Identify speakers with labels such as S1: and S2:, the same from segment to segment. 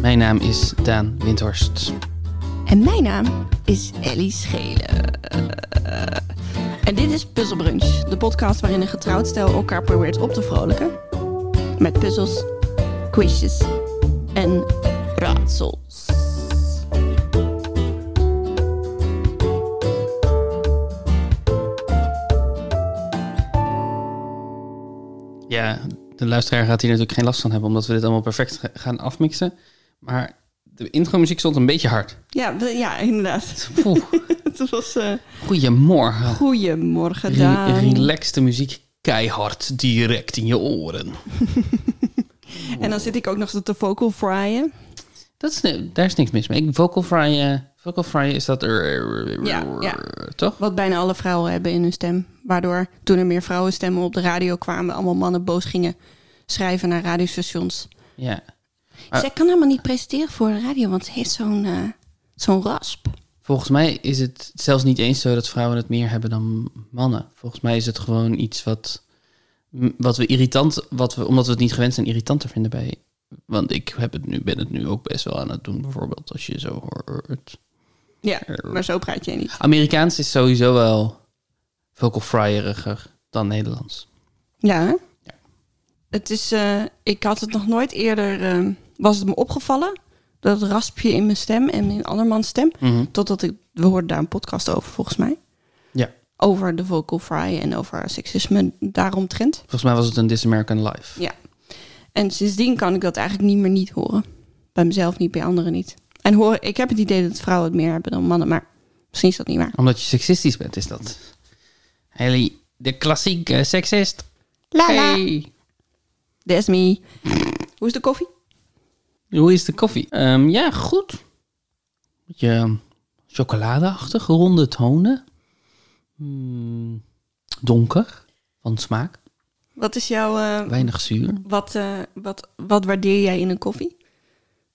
S1: Mijn naam is Daan Windhorst.
S2: En mijn naam is Ellie Schelen. En dit is Puzzle Brunch, de podcast waarin een getrouwd stel elkaar probeert op te vrolijken. Met puzzels, quizjes en raadsels.
S1: Ja, de luisteraar gaat hier natuurlijk geen last van hebben, omdat we dit allemaal perfect ge- gaan afmixen. Maar de intro-muziek stond een beetje hard.
S2: Ja, we- ja inderdaad.
S1: Poeh,
S2: Het was eh
S1: goedemorgen.
S2: goedemorgen,
S1: Re-
S2: Daan.
S1: relaxte muziek, keihard, direct in je oren.
S2: en dan zit ik ook nog te vocal fryen.
S1: Dat is, ni- daar is niks mis mee. Ik- Vocal fry, eh, vocal fry is dat...
S2: Ja, ja.
S1: Toch?
S2: Wat bijna alle vrouwen hebben in hun stem. Waardoor toen er meer vrouwenstemmen op de radio kwamen, allemaal mannen boos gingen schrijven naar radiostations.
S1: Ja. Ah.
S2: Zij kan helemaal niet presenteren voor de radio, want ze heeft zo'n eh, zo'n rasp.
S1: Volgens mij is het zelfs niet eens zo dat vrouwen het meer hebben dan mannen. Volgens mij is het gewoon iets wat, m- wat we irritant, wat we, omdat we het niet gewend zijn, irritant te vinden bij. Want ik heb het nu, ben het nu ook best wel aan het doen, bijvoorbeeld, als je zo hoort.
S2: Ja, maar zo praat jij niet.
S1: Amerikaans is sowieso wel vocal fryeriger dan Nederlands.
S2: Ja, hè? Het is, eh, ik had het nog nooit eerder, eh, was het me opgevallen, dat raspje in mijn stem en in andermans stem.
S1: Mhm.
S2: Totdat ik, we hoorden daar een podcast over volgens mij.
S1: Ja.
S2: Over de vocal fry en over seksisme daaromtrent.
S1: Volgens mij was het een This American Life.
S2: Ja. En sindsdien kan ik dat eigenlijk niet meer niet horen. Bij mezelf niet, bij anderen niet. En hoor, ik heb het idee dat vrouwen het meer hebben dan mannen, maar misschien is dat niet waar.
S1: Omdat je seksistisch bent, is dat. Haley, de klassieke seksist. Hey.
S2: That's me. Hoe is de koffie?
S1: Hoe is de koffie? Ehm, ja, goed. Beetje ehm, chocoladeachtig, ronde tonen. Hmm, donker van smaak,
S2: Wat is jouw... eh,
S1: weinig zuur.
S2: wat, eh, wat, wat waardeer jij in een koffie?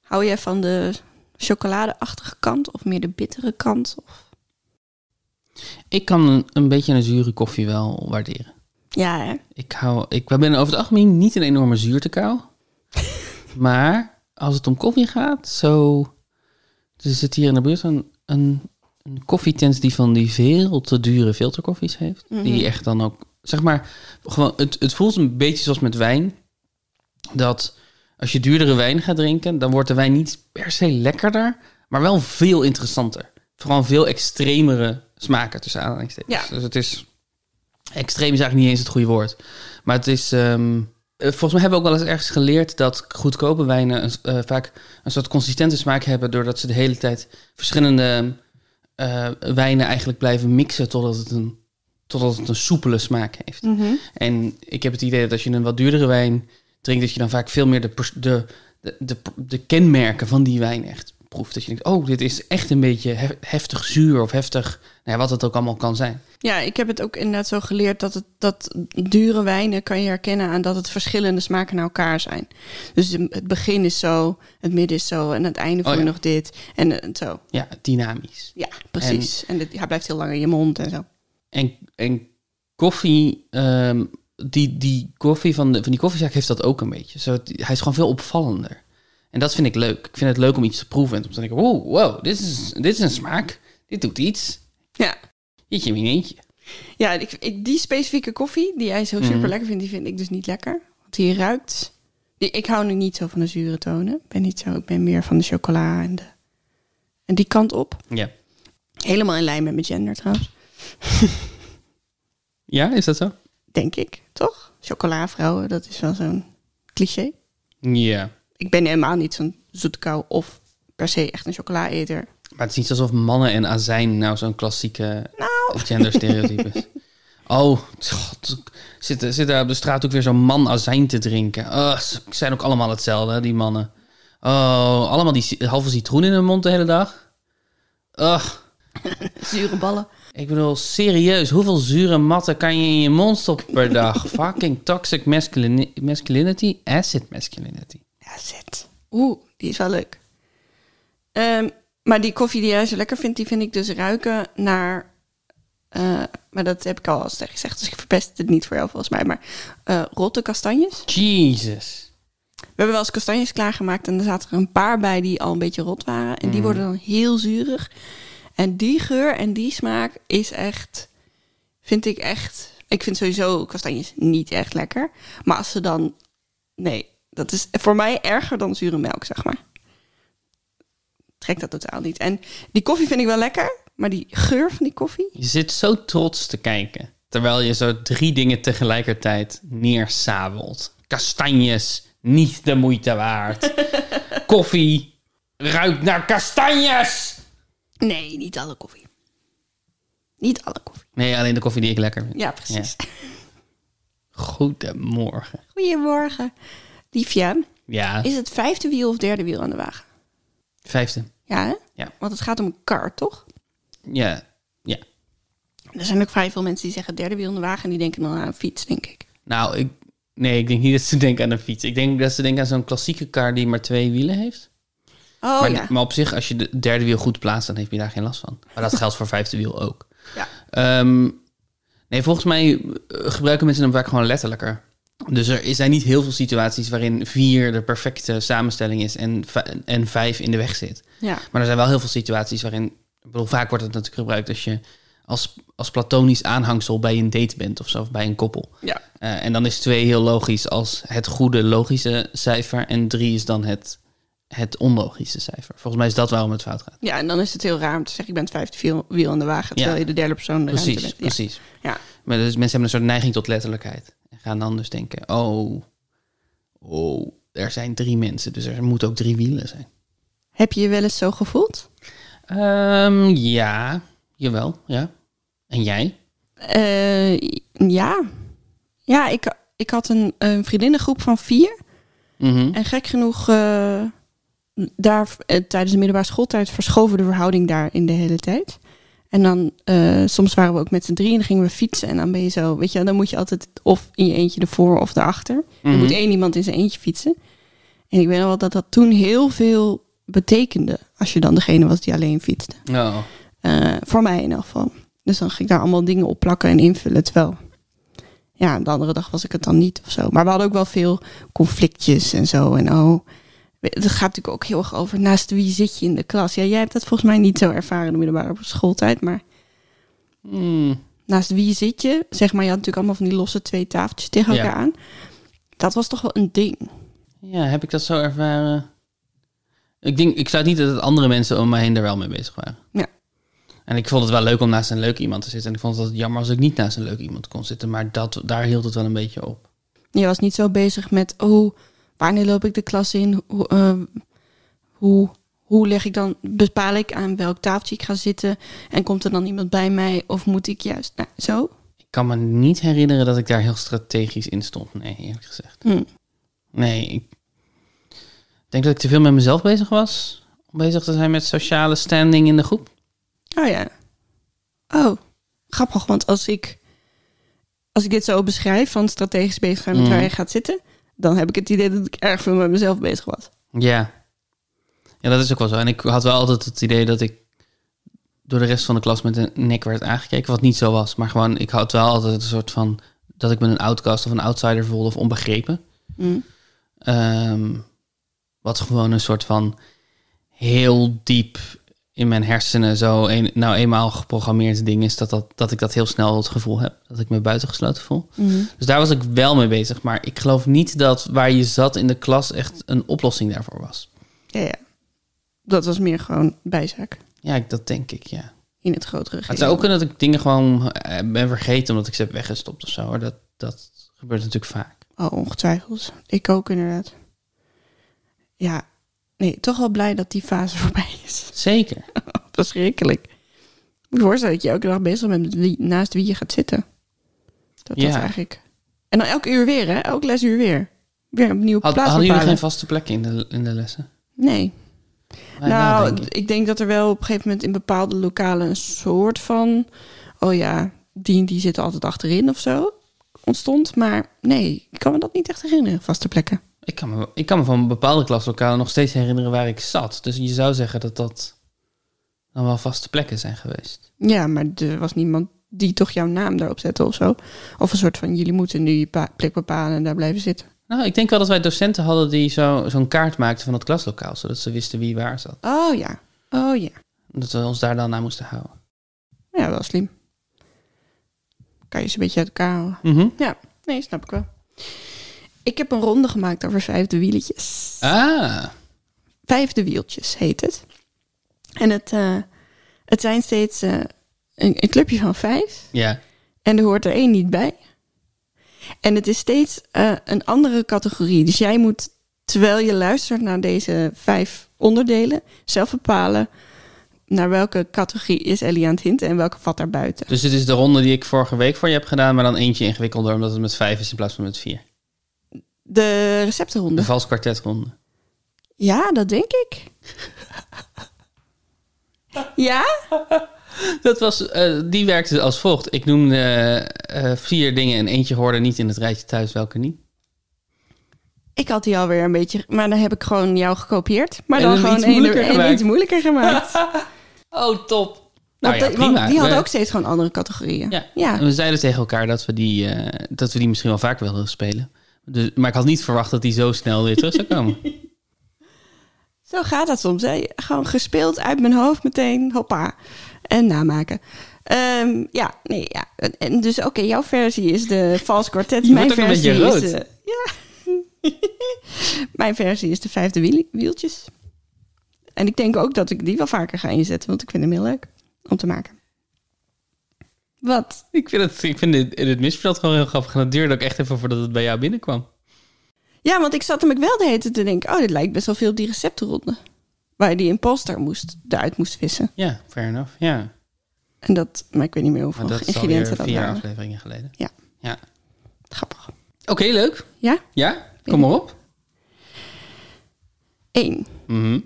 S2: Hou jij van de chocoladeachtige kant of meer de bittere kant? Of...
S1: Ik kan een, een beetje een zure koffie wel waarderen.
S2: Ja, hè?
S1: Ik, hou, ik ben over het algemeen niet een enorme zuurtekou. maar als het om koffie gaat, zo... Er zit hier in de buurt een, een, een koffietent die van die veel te dure filterkoffies heeft. Die echt dan ook... Zeg maar, gewoon, het, het voelt een beetje zoals met wijn. Dat als je duurdere wijn gaat drinken, dan wordt de wijn niet per se lekkerder. Maar wel veel interessanter. Vooral veel extremere smaken tussen aanhalingstekens.
S2: Ja.
S1: Dus het is... Extreem is eigenlijk niet eens het goede woord. Maar het is. ehm, eh, volgens mij hebben we ook wel eens ergens geleerd dat goedkope wijnen een s- eh, vaak een soort consistente smaak hebben. doordat ze de hele tijd verschillende eh, wijnen eigenlijk blijven mixen. totdat het een, totdat het een soepele smaak heeft. En ik heb het idee dat als je een wat duurdere wijn drinkt. dat je dan vaak veel meer de, pers- de, de, de, de kenmerken van die wijn echt proeft. Dat je denkt: oh, dit is echt een beetje hef- heftig zuur of heftig. Nou ja, wat het ook allemaal kan zijn.
S2: Ja, ik heb het ook inderdaad zo geleerd dat, het, dat dure wijnen kan je herkennen aan dat het verschillende smaken naar elkaar zijn. Dus de- het begin is zo, het midden is zo en aan het einde voel je
S1: ja.
S2: nog dit en, en zo.
S1: Ja, dynamisch.
S2: Ja, precies. En, dit, hij blijft heel lang in je mond en zo.
S1: En, en koffie, ehm, die, die koffie van, de, van die koffiezaak heeft dat ook een beetje. Zo, het- hij is gewoon veel opvallender. En dat vind ik leuk. Ik vind het leuk om iets te proeven en om te denken, wow, wow dit, is, dit is een smaak. Dit doet iets.
S2: Ja,
S1: Jeetje, wie eentje.
S2: ja ik, ik, die specifieke koffie die jij zo super lekker vindt, die vind ik dus niet lekker. Want die ruikt. Die, ik hou nu niet zo van de zure tonen. Ik ben niet zo, ik ben meer van de chocola en, de, en die kant op.
S1: Ja.
S2: Helemaal in lijn met mijn gender trouwens,
S1: ja, is dat zo?
S2: denk ik, toch? Chocolavrouwen, dat is wel zo'n cliché.
S1: Ja.
S2: Ik ben helemaal niet zo'n zoetkou of per se echt een chocolaeter.
S1: Maar het is niet alsof mannen en azijn nou zo'n klassieke
S2: Nou.
S1: genderstereotype is. Oh, god. Zit, zit daar op de straat ook weer zo'n man azijn te drinken? Ah, ze zijn ook allemaal hetzelfde, hè, die mannen. Oh, allemaal die ci- halve citroen in hun mond de hele dag. Ugh.
S2: Zure ballen.
S1: Ik bedoel, serieus, hoeveel zure matten kan je in je mond stoppen per dag? Fucking toxic masculini- masculinity, acid masculinity.
S2: Ja, zit. Oeh, die is wel leuk. Ehm, maar die koffie die jij zo lekker vindt, die vind ik dus ruiken naar... eh, maar dat heb ik al eens tegen gezegd, dus ik verpest het niet voor jou volgens mij. Maar eh, rotte kastanjes.
S1: Jesus.
S2: We hebben wel eens kastanjes klaargemaakt en er zaten er een paar bij die al een beetje rot waren. En die worden dan heel zuurig. En die geur en die smaak is echt, vind ik echt. Ik vind sowieso kastanjes niet echt lekker. Maar als ze dan. Nee, dat is voor mij erger dan zure melk, zeg maar. Trek dat totaal niet. En die koffie vind ik wel lekker, maar die geur van die koffie.
S1: Je zit zo trots te kijken. Terwijl je zo drie dingen tegelijkertijd neersabelt. Kastanjes, niet de moeite waard. Koffie, ruikt naar kastanjes!
S2: Nee, niet alle koffie. Niet alle koffie.
S1: Nee, alleen de koffie die ik lekker vind.
S2: Ja, precies.
S1: Goedemorgen.
S2: Goedemorgen. Liefje,
S1: Ja,
S2: is het vijfde wiel of derde wiel aan de wagen?
S1: vijfde.
S2: Ja, hè?
S1: Ja.
S2: Want het gaat om een kar, toch?
S1: Ja, ja.
S2: Er zijn ook vrij veel mensen die zeggen derde wiel aan de wagen... en die denken dan aan een fiets, denk ik.
S1: Nou, ik, nee, ik denk niet dat ze denken aan een fiets. Ik denk dat ze denken aan zo'n klassieke kar die maar twee wielen heeft.
S2: Oh
S1: maar,
S2: ja.
S1: maar op zich, als je de derde wiel goed plaatst, dan heb je daar geen last van. Maar dat geldt voor vijfde wiel ook.
S2: Ja.
S1: Ehm, nee, volgens mij eh, gebruiken mensen hem vaak gewoon letterlijker. Dus er zijn niet heel veel situaties waarin vier de perfecte samenstelling is en, v- en vijf in de weg zit.
S2: ja.
S1: Maar er zijn wel heel veel situaties waarin... Ik bedoel, vaak wordt het natuurlijk gebruikt als je als, als platonisch aanhangsel bij een date bent of zo, of bij een koppel.
S2: Ja.
S1: Eh, en dan is twee heel logisch als het goede logische cijfer en drie is dan het, het onlogische cijfer. Volgens mij is dat waarom het fout gaat.
S2: ja, en dan is het heel raar om te zeggen... ik ben het vijfde wiel- wiel aan de wagen... terwijl
S1: Ja.
S2: je de derde persoon de ruimte
S1: Precies,
S2: bent. Ja.
S1: precies.
S2: Ja.
S1: Maar dus mensen hebben een soort neiging tot letterlijkheid. En gaan dan dus denken, oh, oh, er zijn drie mensen, dus er moeten ook drie wielen zijn.
S2: Heb je je wel eens zo gevoeld?
S1: Ehm, ja, jawel, ja. En jij?
S2: Eh, ja. Ja, ik, ik had een, een vriendinnengroep van vier...
S1: Mhm.
S2: En gek genoeg, eh, daar, eh, tijdens de middelbare schooltijd verschoven de verhouding daar in de hele tijd. En dan, eh, soms waren we ook met z'n drieën, dan gingen we fietsen. En dan ben je zo, weet je, wel, dan moet je altijd of in je eentje ervoor of erachter. Er
S1: Mhm.
S2: moet één iemand in zijn eentje fietsen. En ik weet nog wel dat dat toen heel veel betekende. Als je dan degene was die alleen fietste.
S1: Oh.
S2: Eh, voor mij in elk geval. Dus dan ging ik daar allemaal dingen op plakken en invullen. Terwijl, ja, de andere dag was ik het dan niet of zo. Maar we hadden ook wel veel conflictjes en zo. En oh, we- het gaat natuurlijk ook heel erg over naast wie zit je in de klas. Ja, jij hebt dat volgens mij niet zo ervaren in de middelbare schooltijd. Maar
S1: Mm.
S2: naast wie zit je? Zeg maar, je had natuurlijk allemaal van die losse twee tafeltjes tegen
S1: Ja.
S2: elkaar aan. Dat was toch wel een ding.
S1: Ja, heb ik dat zo ervaren? Ik, denk, ik sluit niet dat het andere mensen om mij heen er wel mee bezig waren.
S2: Ja.
S1: En ik vond het wel leuk om naast een leuk iemand te zitten. En ik vond het altijd jammer als ik niet naast een leuk iemand kon zitten. Maar dat, daar hield het wel een beetje op.
S2: Je was niet zo bezig met, oh, wanneer loop ik de klas in? Hoe, eh, hoe, hoe leg ik dan, bepaal ik aan welk tafeltje ik ga zitten? En komt er dan iemand bij mij? Of moet ik juist, nou, zo?
S1: Ik kan me niet herinneren dat ik daar heel strategisch in stond. Nee, eerlijk gezegd.
S2: Hm.
S1: Nee, ik denk dat ik te veel met mezelf bezig was. Om bezig te zijn met sociale standing in de groep.
S2: Oh ja. Oh, grappig, want als ik, als ik dit zo beschrijf, van strategisch bezig zijn met
S1: Mhm.
S2: waar je gaat zitten, dan heb ik het idee dat ik erg veel met mezelf bezig was.
S1: Ja. Ja, dat is ook wel zo. En ik had wel altijd het idee dat ik door de rest van de klas met een nek werd aangekeken, wat niet zo was. Maar gewoon, ik had wel altijd een soort van dat ik me een outcast of een outsider voelde of onbegrepen.
S2: Hm.
S1: Ehm, wat gewoon een soort van heel diep in mijn hersenen zo een, nou eenmaal geprogrammeerd ding is dat, dat, dat ik dat heel snel het gevoel heb. Dat ik me buitengesloten voel.
S2: Mhm.
S1: Dus daar was ik wel mee bezig. Maar ik geloof niet dat waar je zat in de klas echt een oplossing daarvoor was.
S2: Ja, ja. Dat was meer gewoon bijzaak
S1: Ja, ik- dat denk ik, ja.
S2: in het grotere
S1: Maar het
S2: geheel.
S1: zou ook kunnen dat ik dingen gewoon eh, ben vergeten omdat ik ze heb weggestopt of zo. Hoor. Dat, dat gebeurt natuurlijk vaak.
S2: Oh, ongetwijfeld. Ik ook inderdaad. Ja, nee, toch wel blij dat die fase voorbij is.
S1: Zeker.
S2: Verschrikkelijk. Ik moet je voorstellen dat je elke dag bezig bent met wie, naast wie je gaat zitten. Dat was
S1: Ja.
S2: eigenlijk. En dan elk uur weer, hè? Elk lesuur weer. Weer een nieuwe
S1: Had,
S2: plaats
S1: hadden jullie geen
S2: bepalen.
S1: vaste plekken in de, in de lessen?
S2: Nee.
S1: Wij wel,
S2: nou,
S1: denk
S2: d-
S1: ik.
S2: ik denk dat er wel op een gegeven moment in bepaalde lokalen een soort van... Oh ja, die en die zitten altijd achterin of zo ontstond. Maar nee, ik kan me dat niet echt herinneren, vaste plekken.
S1: Ik, kan me, ik kan me van bepaalde klaslokalen nog steeds herinneren waar ik zat. Dus je zou zeggen dat dat dan wel vaste plekken zijn geweest.
S2: Ja, maar er was niemand die toch jouw naam daarop zette of zo. Of een soort van, jullie moeten nu je pa- plek bepalen en daar blijven zitten.
S1: Nou, ik denk wel dat wij docenten hadden die zo, zo'n kaart maakten van het klaslokaal, zodat ze wisten wie waar zat.
S2: Oh ja. Oh ja.
S1: Dat we ons daar dan aan moesten houden.
S2: Ja, wel slim. Kan je ze een beetje uit elkaar halen.
S1: Mhm.
S2: Nee, snap ik wel. Ik heb een ronde gemaakt over vijfde wieletjes.
S1: Ah,
S2: Vijfde wieltjes heet het. En het, eh, het zijn steeds eh, een, een clubje van vijf.
S1: ja.
S2: En er hoort er één niet bij. En het is steeds eh, een andere categorie. Dus jij moet, terwijl je luistert naar deze vijf onderdelen, zelf bepalen naar welke categorie is Ellie aan het hinten en welke valt daar buiten.
S1: Dus dit is de ronde die ik vorige week voor je heb gedaan, maar dan eentje ingewikkelder, omdat het met vijf is in plaats van met vier.
S2: De
S1: De
S2: receptenronde.
S1: vals kwartetronde.
S2: Ja, dat denk ik. ja?
S1: Dat was, eh, die werkte als volgt. Ik noemde eh, eh, vier dingen en eentje hoorde niet in het rijtje thuis, welke niet.
S2: Ik had die alweer een beetje, maar dan heb ik gewoon jou gekopieerd. Maar
S1: En
S2: dan
S1: hem
S2: gewoon
S1: iets
S2: één
S1: moeilijker
S2: en
S1: gemaakt.
S2: iets moeilijker gemaakt.
S1: Oh, top. Nou
S2: Want
S1: ja,
S2: die-
S1: prima.
S2: want die
S1: We-
S2: hadden ook steeds gewoon andere categorieën.
S1: Ja.
S2: ja.
S1: En we zeiden tegen elkaar dat we die, eh, dat we die misschien wel vaak wilden spelen. Dus, maar ik had niet verwacht dat die zo snel weer terug zou komen.
S2: Zo gaat dat soms. Hè? Gewoon gespeeld uit mijn hoofd meteen, hoppa. En namaken. Ehm, ja, nee, ja. En- En dus oké, jouw versie is de vals kwartet.
S1: Je
S2: mijn
S1: wordt ook een
S2: versie
S1: beetje
S2: is
S1: rood.
S2: de- ja. mijn versie is de vijfde wiel- wieltjes. En ik denk ook dat ik die wel vaker ga inzetten, want ik vind hem heel leuk om te maken. Wat?
S1: ik vind het, ik vind dit, dit misverstand gewoon heel grappig. En dat duurde ook echt even voordat het bij jou binnenkwam.
S2: Ja, want ik zat hem ik wel de hele tijd te denken, oh, dit lijkt best wel veel op die receptenronde. Waar je die imposter moest, eruit moest vissen.
S1: Ja, fair enough. Ja.
S2: En dat, maar ik weet niet meer
S1: Maar
S2: hoeveel
S1: dat is alweer
S2: ingrediënten
S1: vier
S2: dat waren.
S1: afleveringen geleden.
S2: Ja.
S1: ja.
S2: Grappig.
S1: Oké, leuk.
S2: Ja?
S1: Ja, kom maar op.
S2: 1.
S1: Mhm.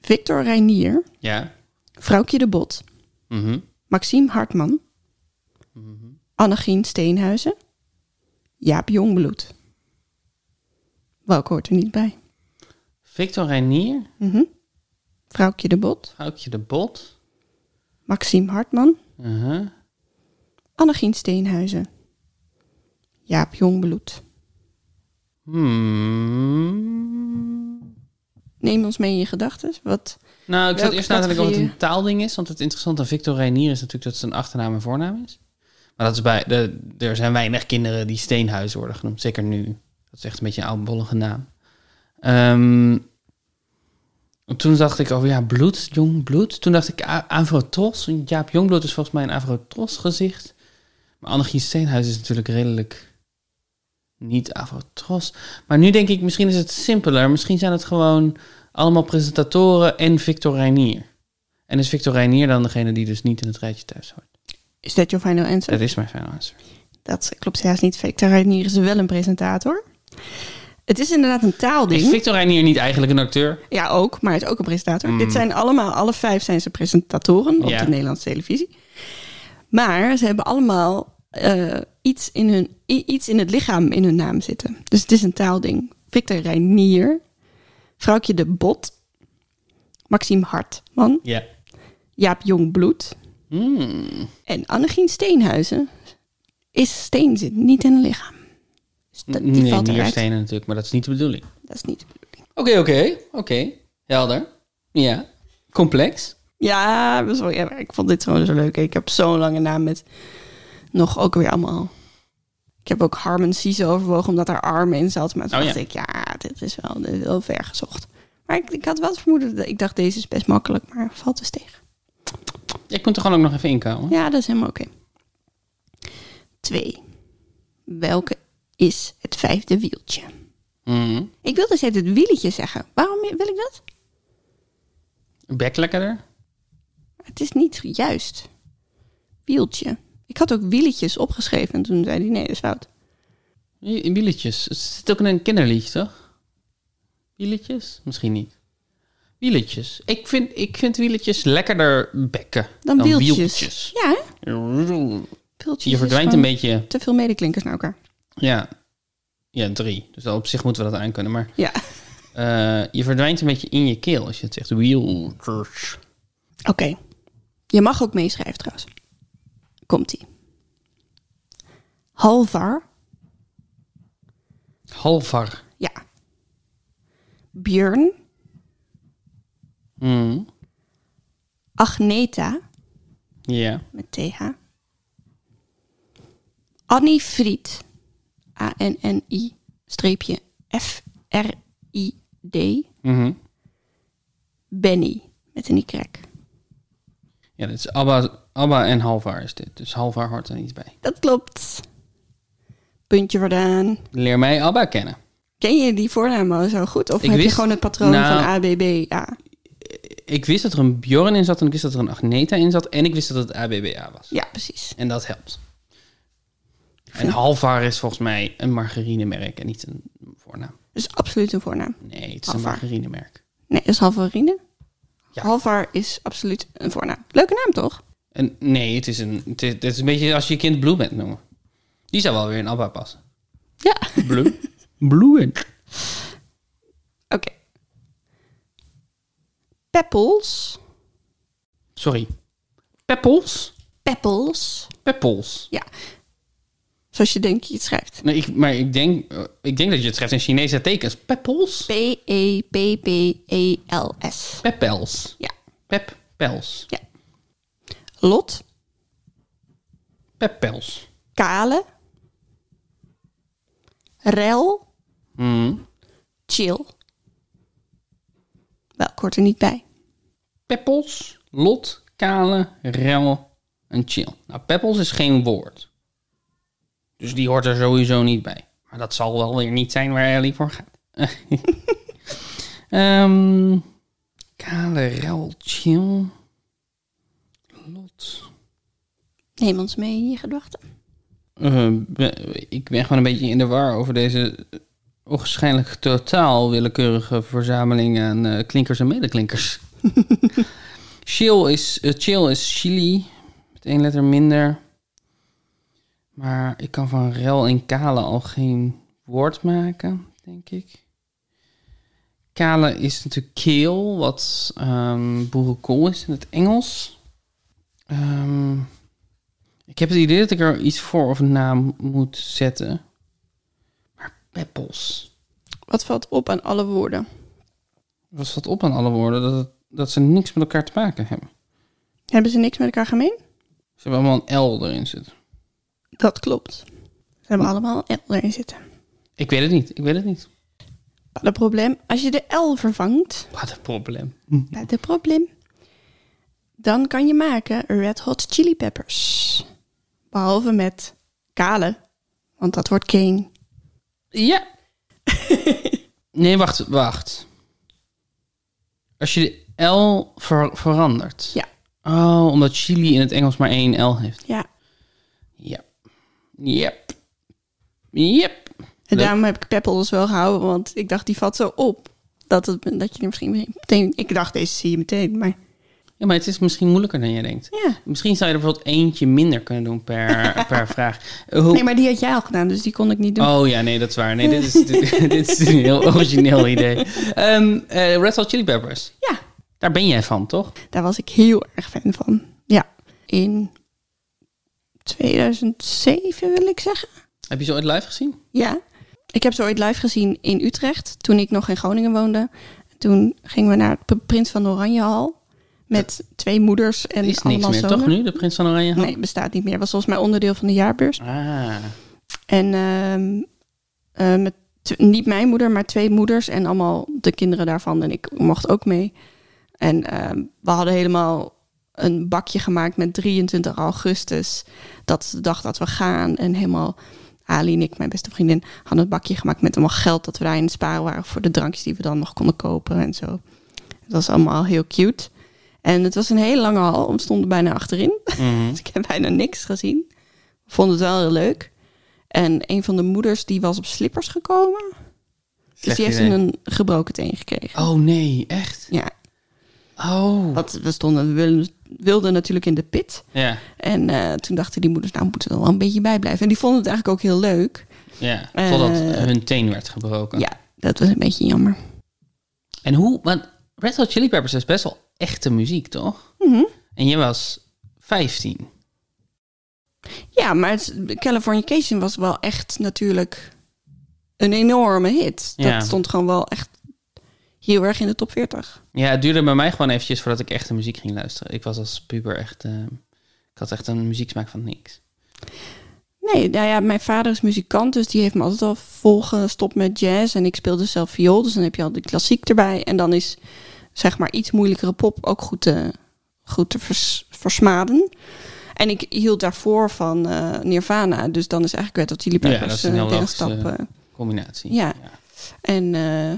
S2: Victor Reinier,
S1: Ja.
S2: Vrouwkje de Bot,
S1: Mhm.
S2: Maxime Hartman, Annegien Steenhuizen, Jaap Jongbloed. Welke hoort er niet bij?
S1: Victor Reinier,
S2: Mhm. Vrouwkje de Bot,
S1: Houtje de Bot.
S2: Maxime Hartman,
S1: Mhm.
S2: Annegien Steenhuizen, Jaap Jongbloed.
S1: Hmm.
S2: Neem ons mee in je gedachten. Wat?
S1: Nou, ik zat
S2: Welke
S1: eerst na te denken of het
S2: categorie?
S1: een taalding is. Want het interessante aan Victor Reinier is natuurlijk dat zijn achternaam en voornaam is. Maar dat is bij, de, er zijn weinig kinderen die Steenhuis worden genoemd. Zeker nu. Dat is echt een beetje een oudbollige naam. Ehm, en toen dacht ik over, ja, bloed, jong bloed. Toen dacht ik A- Avrotros. Jaap Jongbloed is volgens mij een Avrotros gezicht. Maar Annegien Steenhuis is natuurlijk redelijk niet Avrotros. Maar nu denk ik, misschien is het simpeler. Misschien zijn het gewoon allemaal presentatoren en Victor Reinier. En is Victor Reinier dan degene die dus niet in het rijtje thuis hoort?
S2: Is dat your final answer?
S1: Dat is mijn final answer.
S2: Dat klopt helaas niet. Victor Reinier is wel een presentator. Het is inderdaad een taalding.
S1: Is Victor Reinier niet eigenlijk een acteur?
S2: Ja, ook, maar hij is ook een presentator.
S1: Mm.
S2: Dit zijn allemaal, alle vijf zijn ze presentatoren op
S1: Ja.
S2: de Nederlandse televisie. Maar ze hebben allemaal eh, iets, in hun, i- iets in het lichaam in hun naam zitten. Dus het is een taalding. Victor Reinier, Vrouwtje de Bot, Maxime Hartman,
S1: Ja.
S2: Jaap Jongbloed
S1: Hmm.
S2: en Annegien Steenhuizen. Is steen zit niet in het lichaam. Dus dat, die
S1: Nee,
S2: valt eruit.
S1: nierstenen natuurlijk, maar dat is niet de bedoeling.
S2: Dat is niet de bedoeling.
S1: Oké, oké, oké. Helder. Ja. Complex.
S2: Ja, dat is wel- ja, maar ik vond dit gewoon zo leuk. Ik heb zo'n lange naam met nog ook weer allemaal. Ik heb ook Harmon Cisse overwogen omdat haar arm in zat. Maar toen
S1: Oh, ja.
S2: dacht ik, ja, dit is wel dit is heel ver gezocht. Maar ik, ik had wel het vermoeden, dat ik dacht deze is best makkelijk, maar valt dus tegen.
S1: Ik moet er gewoon ook nog even inkomen.
S2: Ja, dat is helemaal oké. Twee. Welke is het vijfde wieltje?
S1: Hmm.
S2: Ik wilde dus het wieletje zeggen. Waarom wil ik dat?
S1: Bek lekkerder.
S2: Het is niet juist. Wieltje. Ik had ook wieletjes opgeschreven en toen zei hij nee, dat is fout.
S1: I- Wieletjes. Het zit ook in een kinderliedje, toch? Wieletjes? Misschien niet. Wieletjes. Ik vind, ik vind wieletjes lekkerder bekken
S2: Dan, wieltjes.
S1: wieltjes.
S2: Ja, hè? Wieltjes
S1: Je
S2: is
S1: verdwijnt een
S2: gewoon
S1: beetje.
S2: Te veel medeklinkers naar elkaar.
S1: Ja. Ja, drie. Dus op zich moeten we dat aankunnen. Maar
S2: Ja.
S1: eh, je verdwijnt een beetje in je keel als je het zegt. Wheelchurch.
S2: Oké. Je mag ook meeschrijven trouwens. Komt-ie. Halvar.
S1: Halvar.
S2: Ja. Björn.
S1: Mm.
S2: Agneta.
S1: Ja.
S2: Met TH. Annie Fried. A-N-N-I. Streepje F-R-I-D.
S1: Mhm.
S2: Benny. Met een Y.
S1: Ja, dit is Abba, Abba en Halvar is dit. Dus Halvar hoort er niet bij.
S2: Dat klopt. Puntje Jordaan.
S1: Leer mij Abba kennen.
S2: Ken je die voornaam al zo goed? Of
S1: Ik
S2: heb je
S1: wist-
S2: gewoon het patroon
S1: nou-
S2: van ABBA?
S1: Ik wist dat er een Bjorn in zat en ik wist dat er een Agneta in zat en ik wist dat het ABBA was.
S2: Ja, precies.
S1: En dat helpt. En Halvar is volgens mij een margarinemerk en niet een voornaam.
S2: Dat is Dus absoluut een voornaam.
S1: Nee, het is een
S2: Halvar.
S1: margarinemerk.
S2: Nee, dat is Halvarine.
S1: Ja.
S2: Halvar is absoluut een voornaam. Leuke naam, toch?
S1: En nee, het is, een, het, is, het is een beetje als je je kind Blue bent noemen. Die zou wel weer in Abba passen.
S2: Ja.
S1: Blue? Blue.
S2: Oké. Peppels.
S1: Sorry. Peppels?
S2: Peppels.
S1: Peppels.
S2: Ja. Zoals je denkt je het schrijft.
S1: Nee, ik, maar ik denk, eh, ik denk dat je het schrijft in Chinese tekens. Peppels?
S2: E P-E-P-P-E-L-S.
S1: Peppels.
S2: Ja.
S1: Peppels.
S2: ja. Lot.
S1: Peppels.
S2: Kale. Rel.
S1: Mm.
S2: Chill. Wel, ik hoor er niet bij.
S1: Peppels, lot, kale, rel en chill. Nou, peppels is geen woord. Dus die hoort er sowieso niet bij. Maar dat zal wel weer niet zijn waar Ellie voor gaat. Ehm, kale, rel, chill. Lot.
S2: Neem ons mee in je gedachten.
S1: Eh, ik ben gewoon een beetje in de war over deze waarschijnlijk totaal willekeurige verzameling aan eh, klinkers en medeklinkers. chill, is, eh, chill is chili, met één letter minder. Maar ik kan van rel en kale al geen woord maken, denk ik. Kale is natuurlijk keel, wat ehm boerenkool is in het Engels. Ehm ik heb het idee dat ik er iets voor of na m- moet zetten. Maar peppels.
S2: Wat valt op aan alle woorden?
S1: Wat staat op aan alle woorden? Dat, het- dat ze niks met elkaar te maken hebben.
S2: Hebben ze niks met elkaar gemeen?
S1: Ze hebben allemaal een L erin zitten.
S2: Dat klopt. Ze hebben allemaal een L erin zitten.
S1: Ik weet het niet. Ik weet het niet.
S2: Wat een probleem. Als je de L vervangt,
S1: Wat een probleem.
S2: wat een probleem. Dan kan je maken red hot chili peppers. Behalve met kale, want dat wordt keen.
S1: Ja. nee, wacht. Wacht. Als je de L ver- verandert.
S2: Ja,
S1: Oh, omdat chili in het Engels maar één L heeft.
S2: ja.
S1: Ja. Yep. Yep.
S2: En
S1: Leuk.
S2: daarom heb ik peppels wel gehouden, want ik dacht die vat zo op. Dat, het, dat je er misschien meteen... Ik dacht, deze zie je meteen, maar
S1: Ja, maar het is misschien moeilijker dan je denkt.
S2: ja.
S1: Misschien zou je er bijvoorbeeld eentje minder kunnen doen per, per vraag. Eh, hoe-
S2: Nee, maar die had jij al gedaan, dus die kon ik niet doen.
S1: Oh ja, nee, dat is waar. Nee, dit is, dit, dit is een heel origineel idee. Ehm eh, Red Hot Chili Peppers.
S2: Ja,
S1: Daar ben jij van, toch?
S2: daar was ik heel erg fan van. Ja, in 2007 wil ik zeggen.
S1: Heb je ze ooit live gezien?
S2: Ja. Ik heb ze ooit live gezien in Utrecht toen ik nog in Groningen woonde. Toen gingen we naar het Prins van Oranje Hal met twee moeders
S1: Er
S2: en
S1: is niks
S2: allemaal
S1: meer,
S2: zonen.
S1: toch nu? De Prins van Oranje? Hand?
S2: Nee, bestaat niet meer. Was volgens mij onderdeel van de jaarbeurs.
S1: Ah,
S2: En ehm, eh, met tw- niet mijn moeder, maar twee moeders en allemaal de kinderen daarvan. En ik mocht ook mee. En ehm, we hadden helemaal een bakje gemaakt met 23 augustus. Dat is de dag dat we gaan. En helemaal Ali en ik, mijn beste vriendin, hadden een bakje gemaakt met allemaal geld dat we daar in het sparen waren voor de drankjes die we dan nog konden kopen en zo. Het was allemaal heel cute. En het was een hele lange hal. We stonden bijna achterin.
S1: mhm. Hm?
S2: Dus ik heb bijna niks gezien. Ik vond het wel heel leuk. En een van de moeders die was op slippers gekomen. dus
S1: slecht
S2: die heeft
S1: idee.
S2: een gebroken teen gekregen.
S1: Oh nee, echt?
S2: Ja,
S1: Oh.
S2: want we stonden, we wilden, wilden natuurlijk in de pit.
S1: Ja,
S2: En eh, toen dachten die moeders, nou we moeten er wel een beetje bij blijven. En die vonden het eigenlijk ook heel leuk.
S1: ja.
S2: Eh.
S1: Totdat hun teen werd gebroken.
S2: Ja, dat was een beetje jammer.
S1: En hoe... Want Red Hot Chili Peppers is best wel echte muziek, toch?
S2: Mhm.
S1: En jij was 15.
S2: Ja, maar het, Californication was wel echt natuurlijk een enorme hit. Dat
S1: Ja.
S2: stond gewoon wel echt heel erg in de top 40.
S1: Ja, het duurde bij mij gewoon eventjes voordat ik echt de muziek ging luisteren. Ik was als puber echt... eh, ik had echt een muzieksmaak van niks.
S2: Nee, nou ja, mijn vader is muzikant, dus die heeft me altijd al volgestopt met jazz. En ik speelde zelf viool, dus dan heb je al de klassiek erbij. En dan is, zeg maar, iets moeilijkere pop ook goed te, goed te vers- versmaden. En ik hield daarvoor van eh, Nirvana, dus dan is eigenlijk Red Hot Chili
S1: Ja, dat
S2: Peppers
S1: is een
S2: eh,
S1: heel
S2: de
S1: logische-
S2: stap. eh.
S1: Combinatie.
S2: Ja. En eh,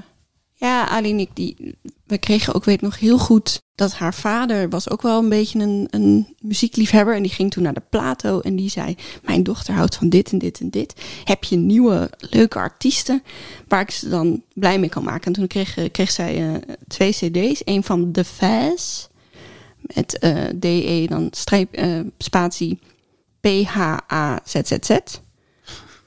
S2: ja, Ali en ik, die, we kregen ook, weet nog heel goed, dat haar vader was ook wel een beetje een, een muziekliefhebber. En die ging toen naar de Plato en die zei, mijn dochter houdt van dit en dit en dit. Heb je nieuwe, leuke artiesten waar ik ze dan blij mee kan maken? En toen kreeg, eh, kreeg zij eh, twee cd's, een van The Faz, met eh, DE, dan streep, eh, spatie, P-H-A-Z-Z-Z.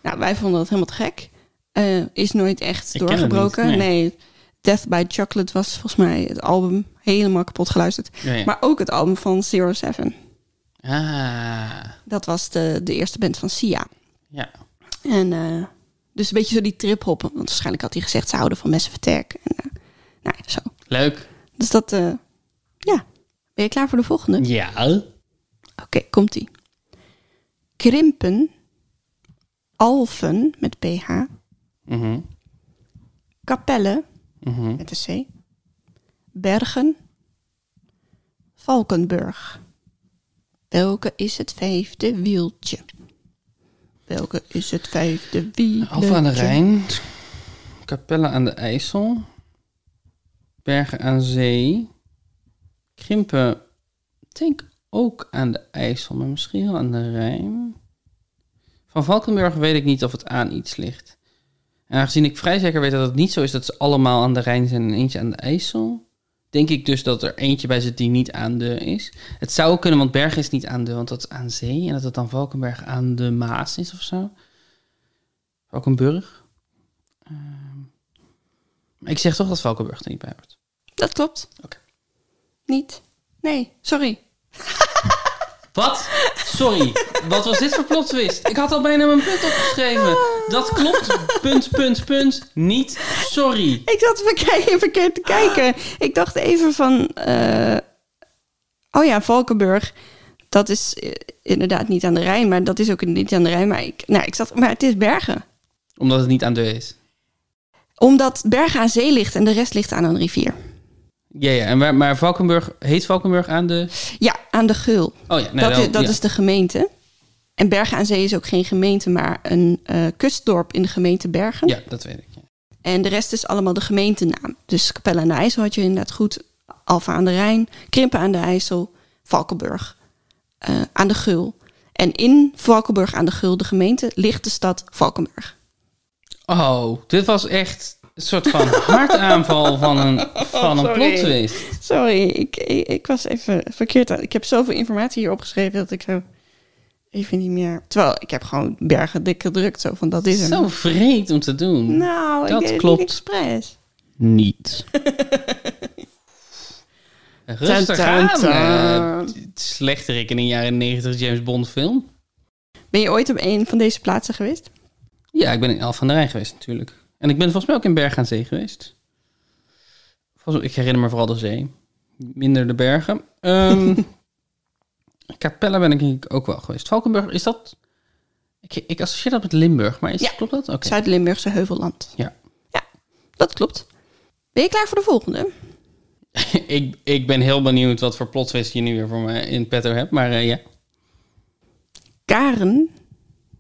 S2: Nou, wij vonden dat helemaal te gek. Eh, is nooit echt
S1: Ik ken het
S2: doorgebroken.
S1: niet, nee.
S2: nee, Death by Chocolate was volgens mij het album helemaal kapot geluisterd.
S1: Ja, ja.
S2: Maar ook het album van Zero Seven.
S1: Ah,
S2: Dat was de, de eerste band van Sia.
S1: ja.
S2: En eh, dus een beetje zo die trip-hop. Want waarschijnlijk had hij gezegd ze houden van Messen Verterk. En, eh, nou, ja, zo.
S1: Leuk.
S2: Dus dat, eh, ja. Ben je klaar voor de volgende?
S1: Ja.
S2: Oké, komt-ie. Krimpen, alfen met ph,
S1: Mhm.
S2: kapellen
S1: Mhm.
S2: met de c, bergen, Valkenburg. Welke is het vijfde wieltje? Welke is het vijfde wieltje?
S1: Alfa aan de Rijn. Capelle aan de IJssel. Bergen aan Zee. Krimpen, ik denk ook aan de IJssel, maar misschien wel aan de Rijn. Van Valkenburg weet ik niet of het aan iets ligt. En aangezien ik vrij zeker weet dat het niet zo is dat ze allemaal aan de Rijn zijn en eentje aan de IJssel, denk ik dus dat er eentje bij zit die niet aan de is. Het zou ook kunnen, want Bergen is niet aan de, want dat is aan zee. En dat het dan Valkenberg aan de Maas is of zo. Valkenburg. Ehm, maar ik zeg toch dat Valkenburg er niet bij hoort.
S2: Dat klopt.
S1: Oké.
S2: Niet. Nee, sorry.
S1: Wat? Sorry. Wat was dit voor plot twist? Ik had al bijna mijn punt opgeschreven. Dat klopt. Punt, punt, punt. Niet. Sorry.
S2: Ik zat verkeerd, verkeerd te kijken. Ik dacht even van... eh, oh ja, Valkenburg. Dat is eh, inderdaad niet aan de Rijn. Maar dat is ook niet aan de Rijn. Maar, ik, nou, ik zat, maar het is Bergen.
S1: Omdat het niet aan de is.
S2: Omdat Bergen aan zee ligt en de rest ligt aan een rivier.
S1: Ja, ja. En waar, maar Valkenburg, heet Valkenburg aan de...
S2: Ja, aan de Geul.
S1: Oh ja. Nee,
S2: dat
S1: dan-
S2: is, dat
S1: ja.
S2: is de gemeente. En Bergen aan Zee is ook geen gemeente, maar een eh, kustdorp in de gemeente Bergen.
S1: Ja, dat weet ik. ja.
S2: En de rest is allemaal de gemeentenaam. Dus Capelle aan de IJssel had je inderdaad goed. Alfa aan de Rijn, Krimpen aan de IJssel, Valkenburg eh, aan de Geul. En in Valkenburg aan de Geul, de gemeente, ligt de stad Valkenburg.
S1: Oh, dit was echt een soort van hartaanval van een, van een
S2: Sorry.
S1: plot twist.
S2: Sorry, ik, ik, ik was even verkeerd. aan- Ik heb zoveel informatie hier opgeschreven dat ik zo even niet meer... Terwijl ik heb gewoon bergen dik gedrukt, zo van dat is hem.
S1: Zo vreed om te doen.
S2: nou,
S1: dat
S2: ik deed
S1: klopt.
S2: het niet expres.
S1: niet. Rustig
S2: Tan,
S1: aan.
S2: tan,
S1: eh,
S2: tan.
S1: Slechterik in een jaren 90 James Bond film.
S2: Ben je ooit op een van deze plaatsen geweest?
S1: Ja, ik ben in Elf van de Rijn geweest natuurlijk. En ik ben volgens mij ook in Berg aan Zee geweest. Volgens, ik herinner me vooral de zee. Minder de bergen. Ehm Capella ben ik denk ik ook wel geweest. Valkenburg, is dat... Ik, ik associeer dat met Limburg, maar is,
S2: Ja.
S1: klopt dat? Oké.
S2: Zuid-Limburgse Heuvelland.
S1: Ja.
S2: Ja, dat klopt. Ben je klaar voor de volgende?
S1: ik, ik ben heel benieuwd wat voor plot twist je nu weer voor me in petto hebt, maar eh, ja.
S2: Karen,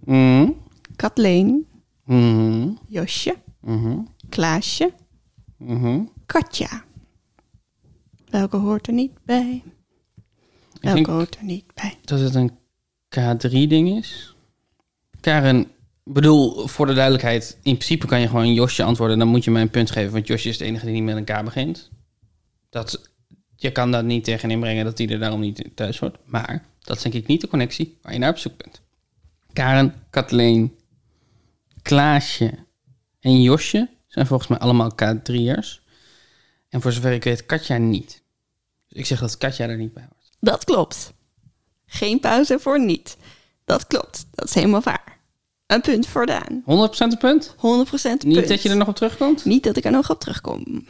S1: Mhm.
S2: Kathleen,
S1: Mhm.
S2: Josje,
S1: Mhm.
S2: Klaasje,
S1: Mhm.
S2: Katja. Welke hoort er niet bij? Welke
S1: denk-
S2: hoort er niet bij?
S1: dat het een K3-ding is. Karen, ik bedoel, voor de duidelijkheid, in principe kan je gewoon Josje antwoorden. Dan moet je mij een punt geven, want Josje is de enige die niet met een K begint. Dat, je kan dat niet tegen inbrengen dat hij er daarom niet thuis hoort. Maar dat is denk ik niet de connectie waar je naar op zoek bent. Karen, Kathleen, Klaasje en Josje zijn volgens mij allemaal K3'ers. En voor zover ik weet, Katja niet. Dus ik zeg dat Katja er niet bij hoort.
S2: Dat klopt. Geen pauze voor niet. Dat klopt. Dat is helemaal waar. Een punt voor
S1: 100%
S2: Daan.
S1: een punt?
S2: 100% punt.
S1: Niet dat je er nog op terugkomt?
S2: Niet dat ik er nog op terugkom.
S1: Dus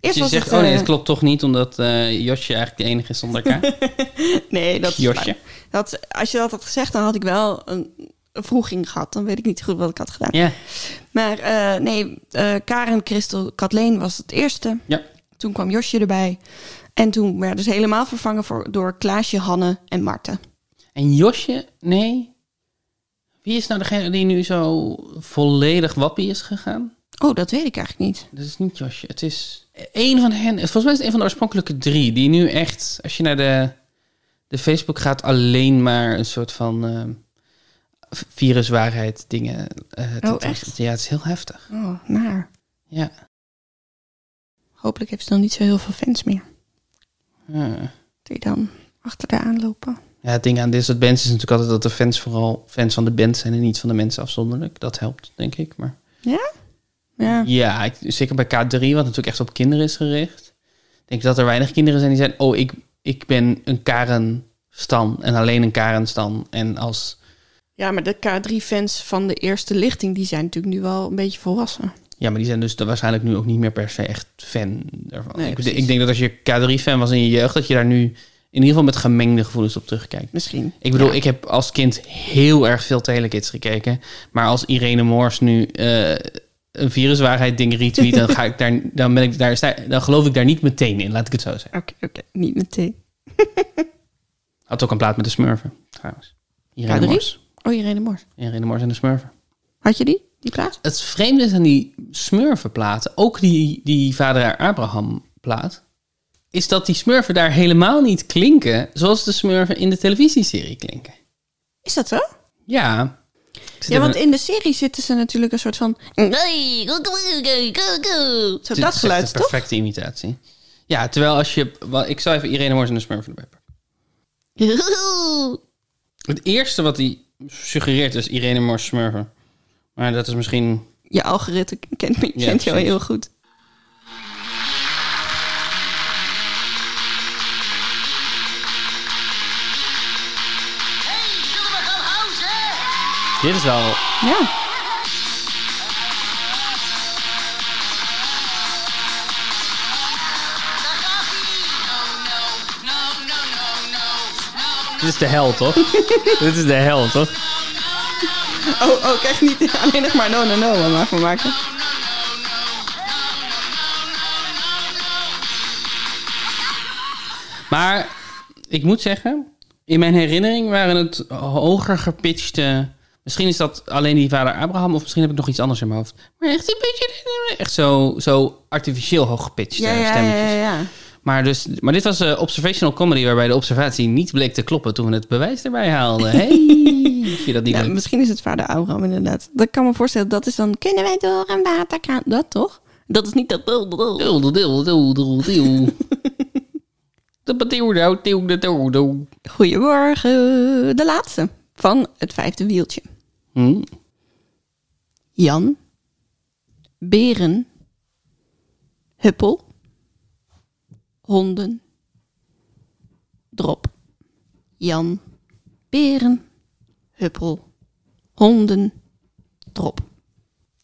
S2: Eerst
S1: je
S2: was
S1: zegt,
S2: het...
S1: oh nee,
S2: eh,
S1: het klopt toch niet, omdat eh, Josje eigenlijk de enige is zonder elkaar.
S2: Nee, dat is
S1: Josje.
S2: waar. Dat, als je dat had gezegd, dan had ik wel een, een vroeging gehad. Dan weet ik niet goed wat ik had gedaan.
S1: ja.
S2: Maar eh, nee, eh, Karen, Christel, Kathleen was het eerste.
S1: ja.
S2: Toen kwam Josje erbij. En toen werden ze helemaal vervangen voor, door Klaasje, Hanne en Marten.
S1: En Josje, nee. Wie is nou degene die nu zo volledig wappie is gegaan?
S2: Oh, dat weet ik eigenlijk niet.
S1: Dat is niet Josje. Het is één van hen. Volgens mij is het een van de oorspronkelijke drie. Die nu echt, als je naar de, de Facebook gaat, alleen maar een soort van ehm, v- viruswaarheid dingen. eh, tentoonstelt.
S2: Oh, echt?
S1: Ja, het is heel heftig.
S2: Oh, maar
S1: Ja.
S2: hopelijk heeft ze dan niet zo heel veel fans meer.
S1: ja.
S2: Die dan achter de aanlopen.
S1: Ja, het ding aan dit soort bands is natuurlijk altijd dat de fans vooral fans van de band zijn en niet van de mensen afzonderlijk. Dat helpt, denk ik. Maar
S2: Ja.
S1: Ja, ik- zeker bij K3, wat natuurlijk echt op kinderen is gericht. Ik denk dat er weinig kinderen zijn die zijn... oh, ik, ik ben een Karen-stan en alleen een Karen-stan. En als...
S2: ja, maar de K3-fans van de eerste lichting, die zijn natuurlijk nu wel een beetje volwassen.
S1: Ja, maar die zijn dus da- waarschijnlijk nu ook niet meer per se echt fan daarvan.
S2: Nee,
S1: ik,
S2: precies.
S1: ik denk dat als je K3-fan was in je jeugd... dat je daar nu in ieder geval met gemengde gevoelens op terugkijkt.
S2: Misschien.
S1: Ik bedoel,
S2: Ja.
S1: ik heb als kind heel erg veel Telekids gekeken. Maar als Irene Moors nu eh, een viruswaarheid ding retweet... dan, ga ik daar, dan, ben ik daar, sta- dan geloof ik daar niet meteen in, laat ik het zo zeggen.
S2: Oké, oké. Niet meteen.
S1: Had ook een plaat met de Smurfen, trouwens. Irene
S2: K3?
S1: Mors.
S2: Oh, Irene Mors.
S1: Irene Mors en de Smurfen.
S2: Had je die, die plaat?
S1: Het vreemde is aan die Smurfenplaten, ook die, die Vader Abraham plaat, is dat die Smurfen daar helemaal niet klinken zoals de Smurfen in de televisieserie klinken.
S2: Is dat zo?
S1: Ja. Ik zit
S2: Ja,
S1: even-
S2: want in de serie zitten ze natuurlijk een soort van...
S3: Hey, go, go, go, go, go.
S2: Zo
S1: dit
S2: dat
S1: is
S2: geluid,
S1: echt een
S2: toch?
S1: perfecte imitatie. Ja, terwijl als je... wel, Ik zou even Irene Mors en de Smurfen erbij pakken. Het eerste wat hij suggereert is Irene Mors Smurfen. Maar dat is misschien
S2: Je algoritme kent, me, kent jou
S1: precies.
S2: heel goed.
S3: Hey, zullen we gaan housen?
S1: Dit is wel.
S2: Ja.
S3: Daar gaat ie. No, no, no, no, no, no, no, no,
S1: Dit is de hel, toch? dit is de hel, toch?
S2: Oh, oh, krijg niet alleen nog maar no, no, no maar van maken.
S1: Maar ik moet zeggen, in mijn herinnering waren het hoger gepitchte. Misschien is dat alleen die vader Abraham, of misschien heb ik nog iets anders in mijn hoofd. Maar echt een beetje. Echt zo, zo artificieel hoog gepitcht
S2: Ja,
S1: eh,
S2: ja,
S1: stemmetjes.
S2: ja, ja.
S1: Maar, dus, maar dit was eh, observational comedy waarbij de observatie niet bleek te kloppen toen we het bewijs erbij haalden. Hey, vind je dat niet
S2: ja.
S1: leuk?
S2: Misschien is het vader Auram inderdaad. Dat kan me voorstellen. Dat is dan, kunnen wij door een waterkraan? Dat toch? Dat is niet dat...
S1: Doel, doel, doel, doel, doel. De bedoel, doel, doel, doel, doel.
S2: Goedemorgen. De laatste van het vijfde wieltje.
S1: Hm?
S2: Jan. Beren. Huppel. Honden. Drop. Jan. Beren. Huppel. Honden. Drop.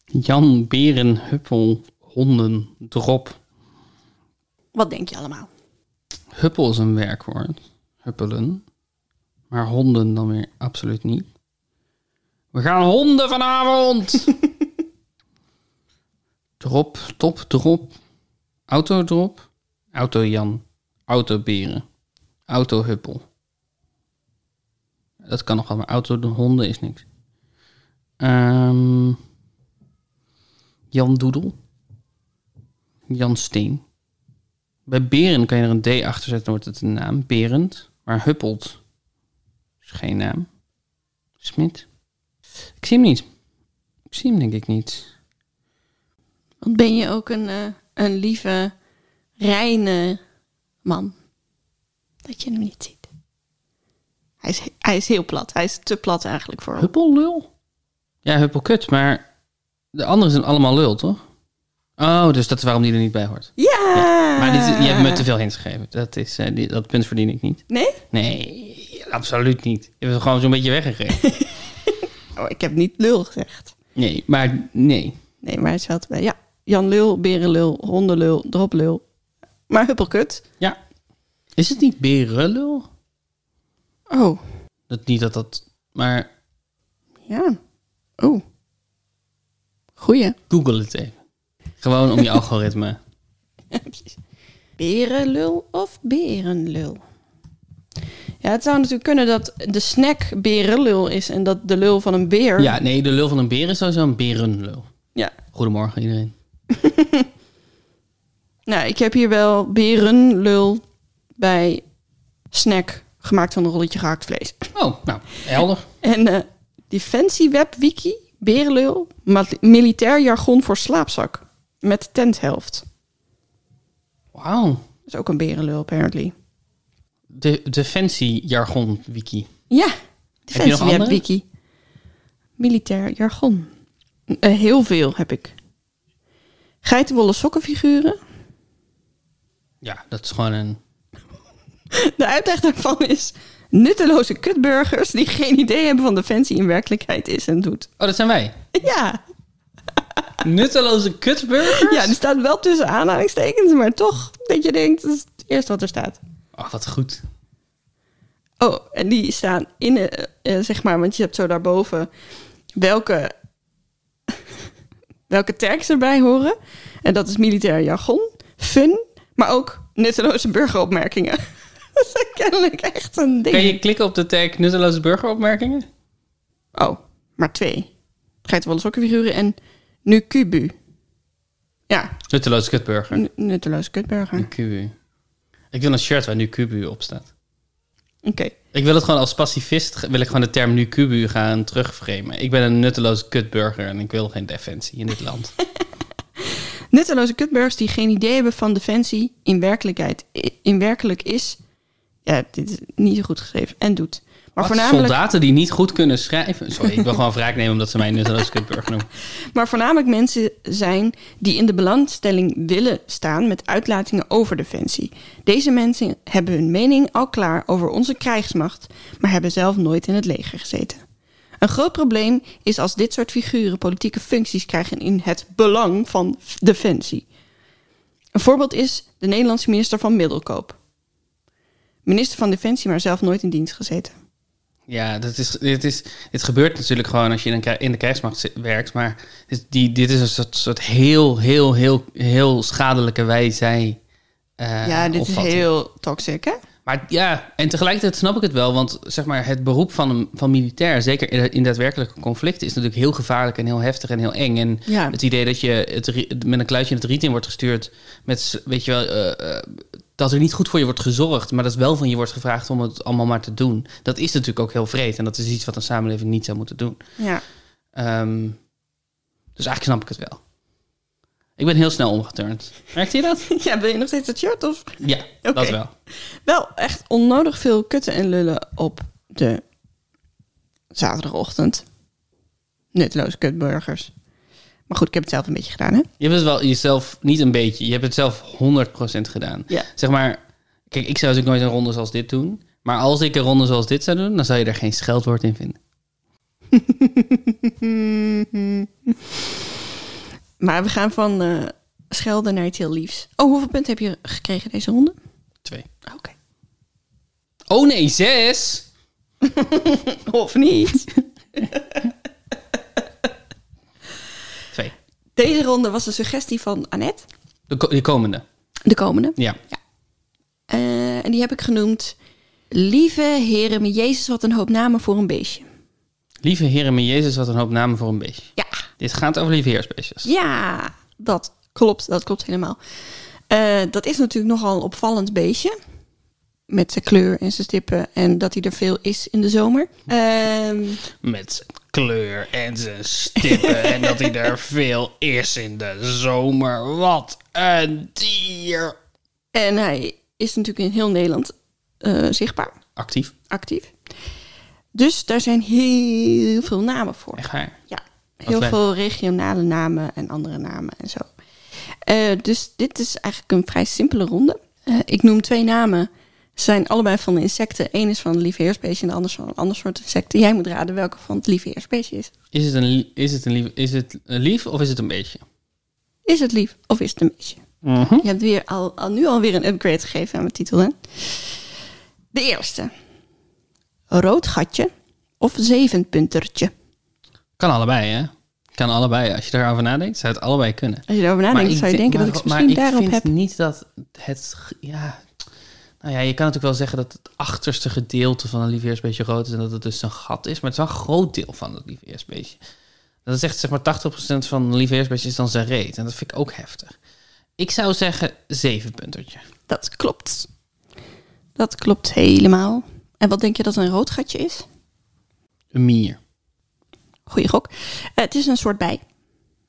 S1: Jan, beren, huppel, honden, drop.
S2: Wat denk je allemaal?
S1: Huppel is een werkwoord. Huppelen. Maar honden dan weer absoluut niet. We gaan honden vanavond! drop, top, drop. Autodrop. Auto-Jan. Autoberen. Autohuppel. Dat kan nog wel, maar auto de honden is niks. Ehm, Jan Doedel. Jan Steen. Bij Beren kan je er een D achter zetten, dan wordt het een naam. Berend. Maar Huppelt is geen naam. Smit. Ik zie hem niet. Ik zie hem denk ik niet.
S2: Want ben je ook een, eh, een lieve, reine man? Dat je hem niet ziet. Hij is, hij is heel plat. Hij is te plat eigenlijk voor hem.
S1: Huppel lul? Ja, Huppel kut, maar de anderen zijn allemaal lul, toch? Oh, dus dat is waarom die er niet bij hoort.
S2: Ja!
S1: Maar dit, is- je hebt me te veel hints gegeven. Dat, is, eh, die- dat punt verdien ik niet.
S2: Nee?
S1: Nee, absoluut niet. Je hebt het gewoon zo'n beetje weggegeven.
S2: Oh, ik heb niet lul gezegd.
S1: Nee, maar nee.
S2: Nee, maar het zat bij. Ja, Jan Lul, Berenlul, Hondenlul, Droplul. Maar Huppelkut.
S1: Ja. Is het niet berenlul?
S2: Oh,
S1: Dat niet dat dat... Maar
S2: ja. Oh. Goeie.
S1: google het even. Gewoon om je algoritme.
S2: Berenlul of berenlul? Ja, het zou natuurlijk kunnen dat de snack berenlul is en dat de lul van een beer.
S1: Ja, nee, de lul van een beer is sowieso een berenlul.
S2: ja.
S1: Goedemorgen iedereen.
S2: Nou, ik heb hier wel berenlul bij snack gemaakt van een rolletje gehakt vlees.
S1: Oh, nou, helder.
S2: En eh Defensie Web Wiki, berenlul, ma- militair jargon voor slaapzak met tenthelft.
S1: Wauw.
S2: Dat is ook een berenlul, apparently.
S1: De defensiejargon wiki.
S2: Ja,
S1: nog
S2: Defensie Web
S1: andere?
S2: Wiki. Militair jargon. Eh, heel veel heb ik. Geitenwolle sokkenfiguren.
S1: Ja, dat is gewoon een...
S2: De uitleg daarvan is nutteloze kutburgers die geen idee hebben van defensie in werkelijkheid is en doet.
S1: Oh, dat zijn wij.
S2: Ja,
S1: Nutteloze kutburgers?
S2: ja er staat wel tussen aanhalingstekens, maar toch dat je denkt, dat is het eerste wat er staat.
S1: Ach, wat goed.
S2: Oh, en die staan in, eh, eh, zeg maar, want je hebt zo daarboven welke, welke tags erbij horen. En dat is militair jargon, fun, maar ook nutteloze burgeropmerkingen. dat is kennelijk echt een ding.
S1: Kan je klikken op de tag nutteloze burgeropmerkingen?
S2: Oh, maar twee. Geitenwolle sokkenfiguren en nu Kubu. Ja,
S1: Nutteloze kutburger.
S2: n- nutteloze kutburger. Oké.
S1: Kubu. Ik wil een shirt waar nu Kubu op staat. Ik wil het gewoon als pacifist, wil ik gewoon de term nu Kubu gaan terugframen. Ik ben een nutteloze kutburger en ik wil geen defensie in dit land.
S2: Nutteloze kutburgers die geen idee hebben van defensie in werkelijkheid i- in werkelijk is. Ja, dit is niet zo goed geschreven. En doet. Maar
S1: Wat?
S2: voornamelijk,
S1: Soldaten die niet goed kunnen schrijven. Sorry, ik wil gewoon wraak nemen omdat ze mij een nutteloze kutburger noemen.
S2: maar voornamelijk mensen zijn die in de belangstelling willen staan met uitlatingen over defensie. Deze mensen hebben hun mening al klaar over onze krijgsmacht, maar hebben zelf nooit in het leger gezeten. Een groot probleem is als dit soort figuren politieke functies krijgen in het belang van defensie. Een voorbeeld is de Nederlandse minister van Middelkoop. Minister van Defensie, maar zelf nooit in dienst gezeten.
S1: Ja, dat is, dit, is, dit gebeurt natuurlijk gewoon als je in, een, krij- in de krijgsmacht zi- werkt. Maar dit, die, dit is een soort, soort heel, heel, heel, heel schadelijke wij-zij. eh,
S2: ja, dit
S1: opvatting.
S2: is heel toxic, hè?
S1: Maar ja, en tegelijkertijd snap ik het wel. Want zeg maar, het beroep van, een, van militair, zeker in, in daadwerkelijke conflicten, is natuurlijk heel gevaarlijk en heel heftig en heel eng. En
S2: Ja.
S1: het idee dat je het, ri- met een kluitje in het riet in wordt gestuurd, met, s- weet je wel, eh, eh, dat er niet goed voor je wordt gezorgd, maar dat wel van je wordt gevraagd om het allemaal maar te doen. Dat is natuurlijk ook heel vreed en dat is iets wat een samenleving niet zou moeten doen.
S2: Ja.
S1: Ehm, dus eigenlijk snap ik het wel. Ik ben heel snel omgeturnd. Merkte je dat?
S2: ja, wil je nog steeds dat shirt of
S1: Ja, dat
S2: Oké.
S1: wel.
S2: wel echt onnodig veel kutten en lullen op de zaterdagochtend. Nutteloze kutburgers. Maar goed, ik heb het zelf een beetje gedaan, hè?
S1: Je hebt het wel jezelf, niet een beetje, je hebt het zelf 100% gedaan.
S2: Ja.
S1: Zeg maar, kijk, ik zou natuurlijk nooit een ronde zoals dit doen. Maar als ik een ronde zoals dit zou doen, dan zou je er geen scheldwoord in vinden.
S2: Maar we gaan van eh, Schelden naar iets heel liefs. Oh, hoeveel punten heb je gekregen deze ronde?
S1: Twee.
S2: Ah, Oké.
S1: Oh nee, zes!
S2: Of niet?
S1: Twee.
S2: Deze ronde was een suggestie van Annette,
S1: De, ko- de komende.
S2: de komende.
S1: Ja.
S2: Eh, en die heb ik genoemd... Lieve heren, mijn Jezus, wat een hoop namen voor een beestje.
S1: Lieve heren, mijn Jezus, wat een hoop namen voor een beestje.
S2: Ja,
S1: Dit gaat over lieve heersbeestjes.
S2: Ja, dat klopt. Dat klopt helemaal. Eh, dat is natuurlijk nogal een opvallend beestje. Met zijn kleur en zijn stippen. En dat hij er veel is in de zomer. Ehm,
S4: Met zijn kleur en zijn stippen. en dat hij er veel is in de zomer. Wat een dier!
S2: en hij is natuurlijk in heel Nederland eh, zichtbaar,
S1: Actief.
S2: actief. Dus daar zijn heel veel namen voor.
S1: Echt waar.
S2: Ja, heel
S1: leuk.
S2: veel regionale namen en andere namen en zo. Eh, dus dit is eigenlijk een vrij simpele ronde. Eh, ik noem twee namen Ze zijn allebei van de insecten. Eén is van het lieveheersbeestje en de ander is van een ander soort insecten. Jij moet raden welke van het lieveheersbeestje is.
S1: Is het, een, li- is, het een lief, is het een lief of is het een beetje?
S2: Is het lief of is het een beestje?
S1: Mhm.
S2: Je hebt weer al, al, nu alweer een upgrade gegeven aan mijn titel, hè? De eerste. Rood gatje of zevenpuntertje?
S1: Kan allebei, hè? Kan allebei. Als je daarover nadenkt, zou het allebei kunnen.
S2: Als je daarover
S1: Maar
S2: nadenkt, zou je
S1: denk-
S2: denken
S1: maar-
S2: dat ik
S1: maar
S2: het misschien daarop
S1: vind
S2: heb.
S1: niet dat het... g- Ja, nou ja, je kan natuurlijk wel zeggen dat het achterste gedeelte van een lieveheersbeestje rood is... en dat het dus een gat is, maar het is wel een groot deel van het lieveheersbeestje. Dat is echt, zeg maar, 80% van een lieveheersbeestje is dan zijn reet. En dat vind ik ook heftig. Ik zou zeggen zeven puntertje.
S2: Dat klopt. Dat klopt helemaal. En wat denk je dat een rood gatje is?
S1: Een mier.
S2: Goeie gok. Eh, het is een soort bij.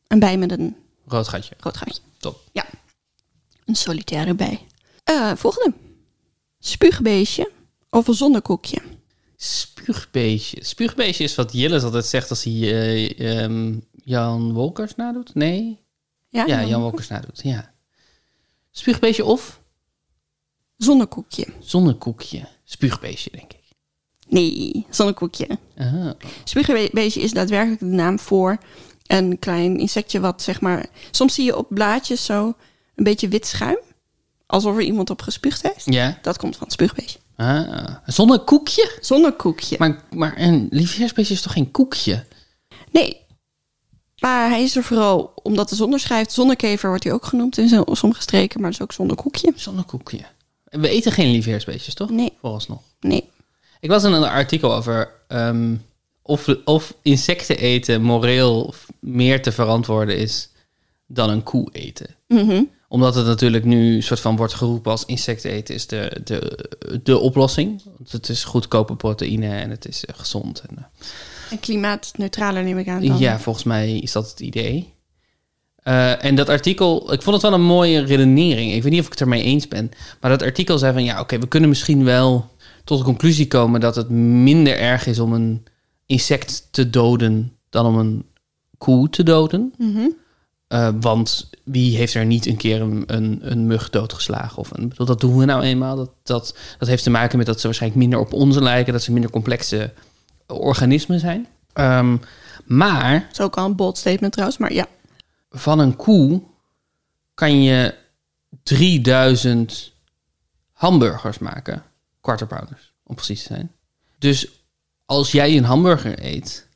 S2: Een bij met een
S1: Rood gatje.
S2: rood gatje.
S1: Top.
S2: Ja. Een solitaire bij. Eh, volgende. Spuugbeestje of een zonnekoekje?
S1: Spuugbeestje. Spuugbeestje is wat Jillis altijd zegt als hij eh, ehm, Jan Wolkers nadoet. Nee? Ja,
S2: dan-
S1: Ah, Jan Wolkers nadoet, ja. Spuugbeestje of
S2: Zonnekoekje.
S1: zonnekoekje. Spuugbeestje, denk ik.
S2: Nee, zonnekoekje.
S1: Ah,
S2: Spuugbeestje is daadwerkelijk de naam voor een klein insectje wat zeg maar... Soms zie je op blaadjes zo een beetje wit schuim. Alsof er iemand op gespuugd heeft.
S1: Ja.
S2: Dat komt van het spuugbeestje.
S1: Ah, een zonnekoekje?
S2: Zonnekoekje.
S1: Maar, maar een lieveheersbeestje is toch geen koekje?
S2: Nee. Maar hij is er vooral omdat de zon er schrijft. Zonnekever wordt hij ook genoemd in zo- sommige streken. Maar dat is ook zonnekoekje.
S1: Zonnekoekje. En We eten geen lieveheersbeestjes, toch?
S2: Nee.
S1: Vooralsnog.
S2: Nee.
S1: Ik las in een artikel over ehm, of, of insecten eten moreel meer te verantwoorden is dan een koe eten. Omdat het natuurlijk nu soort van wordt geroepen als insecten eten is de, de, de oplossing. Want het is goedkope proteïne en het is eh, gezond. En, eh,
S2: En klimaatneutraler neem ik aan dan.
S1: ja, volgens mij is dat het idee. Eh, en dat artikel, ik vond het wel een mooie redenering. Ik weet niet of ik het ermee eens ben. Maar dat artikel zei van ja, oké, we kunnen misschien wel tot de conclusie komen dat het minder erg is om een insect te doden dan om een koe te doden. Eh, want wie heeft er niet een keer een, een, een mug doodgeslagen? Of een, ik bedoel, dat doen we nou eenmaal. Dat, dat, dat heeft te maken met dat ze waarschijnlijk minder op onze lijken, dat ze minder complexe organismen zijn. Ehm, maar
S2: Dat is ook al een bold statement trouwens. Maar ja.
S1: van een koe kan je 3000 hamburgers maken. Quarter pounders, om precies te zijn. Dus als jij een hamburger eet,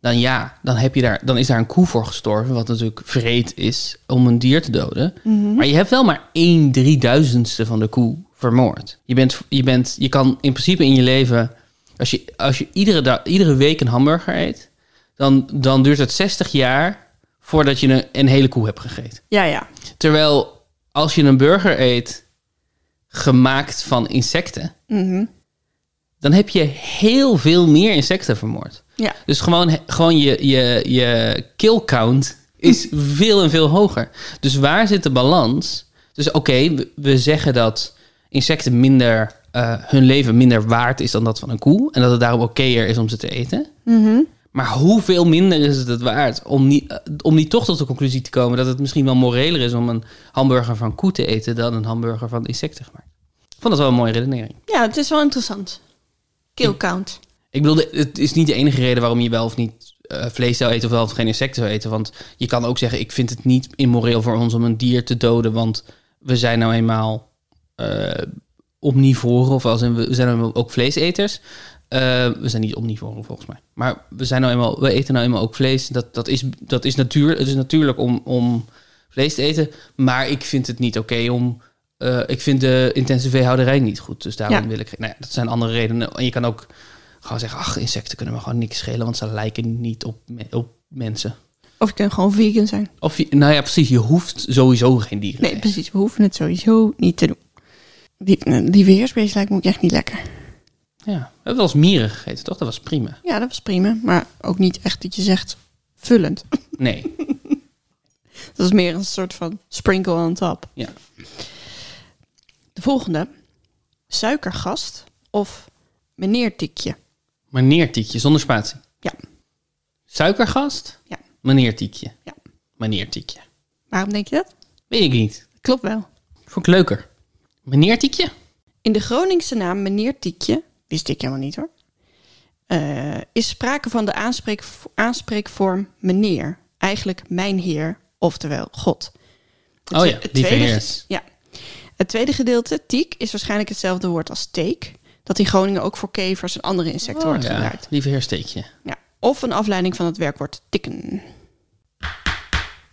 S1: dan ja, dan, heb je daar, dan is daar een koe voor gestorven. Wat natuurlijk vreed is om een dier te doden. Maar je hebt wel maar 1 drieduizendste van de koe vermoord. Je, bent, je, bent, je kan in principe in je leven... Als je, als je iedere, da- iedere week een hamburger eet... Dan, dan duurt het 60 jaar voordat je een, een hele koe hebt gegeten.
S2: Ja, ja.
S1: Terwijl als je een burger eet gemaakt van insecten, dan heb je heel veel meer insecten vermoord.
S2: Ja.
S1: Dus gewoon, gewoon je, je, je kill count is veel en veel hoger. Dus waar zit de balans? Dus oké, we, we zeggen dat insecten minder, eh, hun leven minder waard is dan dat van een koe. En dat het daarom okéer is om ze te eten. Maar hoeveel minder is het het waard om niet, eh, om niet toch tot de conclusie te komen dat het misschien wel moreler is om een hamburger van koe te eten dan een hamburger van insecten gemaakt? Ik vond dat wel een mooie redenering.
S2: Ja, het is wel interessant. Kill count.
S1: Ik bedoel, het is niet de enige reden waarom je wel of niet eh, vlees zou eten of wel of geen insecten zou eten. Want je kan ook zeggen, ik vind het niet immoreel voor ons om een dier te doden, want we zijn nou eenmaal eh omnivoren of als in, we zijn nou eenmaal ook vleeseters. Eh, we zijn niet omnivoren volgens mij. Maar we, zijn nou eenmaal, we eten nou eenmaal ook vlees. Dat, dat, is, dat is natuur, het is natuurlijk om, om vlees te eten. Maar ik vind het niet oké om... eh, ik vind de intense veehouderij niet goed. Dus daarom
S2: Ja.
S1: wil ik... geen- Nou ja, dat zijn andere redenen. En je kan ook gewoon zeggen, ach, insecten kunnen me gewoon niks schelen, want ze lijken niet op, me- op mensen.
S2: Of je kunt gewoon vegan zijn.
S1: Of je, nou ja, precies, je hoeft sowieso geen dieren
S2: Nee,
S1: te eten.
S2: precies. We hoeven het sowieso niet te doen. Die, die weersbeest lijkt me ook echt niet lekker.
S1: Ja, we hebben wel eens mieren gegeten, toch? Dat was prima.
S2: Ja, dat was prima. Maar ook niet echt dat je zegt vullend.
S1: Nee,
S2: Dat is meer een soort van sprinkle on top.
S1: ja.
S2: De volgende. Suikergast of meneer Tikje.
S1: Maar neertiekje, zonder spatie.
S2: Ja,
S1: Suikergast,
S2: ja,
S1: maneertiekje.
S2: ja.
S1: Maneertiekje.
S2: Waarom denk je dat?
S1: Weet ik niet.
S2: Klopt wel.
S1: Vond ik leuker. Meneertiekje?
S2: In de Groningse naam meneer Tiekje, wist ik helemaal niet hoor, eh, is sprake van de aanspreek, aanspreekvorm meneer. Eigenlijk mijn heer, oftewel God.
S1: Oh
S2: twe-
S1: ja, die
S2: tweede ge-
S1: verheerst.
S2: Ja. Het tweede gedeelte, tiek, is waarschijnlijk hetzelfde woord als teek. Dat in Groningen ook voor kevers en andere insecten wordt
S1: Oh, ja,
S2: gebruikt.
S1: lieve heersteekje.
S2: Ja, of een afleiding van het werkwoord tikken.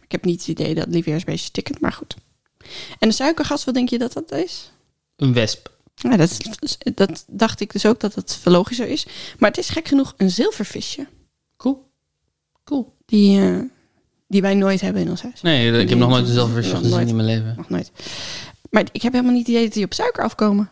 S2: Ik heb niet het idee dat lieveheersbeestjes tikken, maar goed. En de suikergas, wat denk je dat dat is?
S1: Een wesp.
S2: Ja, dat, is- dat dacht ik dus ook dat het veel logischer is. Maar het is gek genoeg een zilvervisje.
S1: Cool. Cool.
S2: Die, eh, die wij nooit hebben in ons huis.
S1: Nee, ik heb
S2: Nee,
S1: nog nooit dezelfde
S2: nog
S1: versie gezien
S2: nooit.
S1: in mijn leven.
S2: Nog nooit. Maar ik heb helemaal niet het idee dat die op suiker afkomen.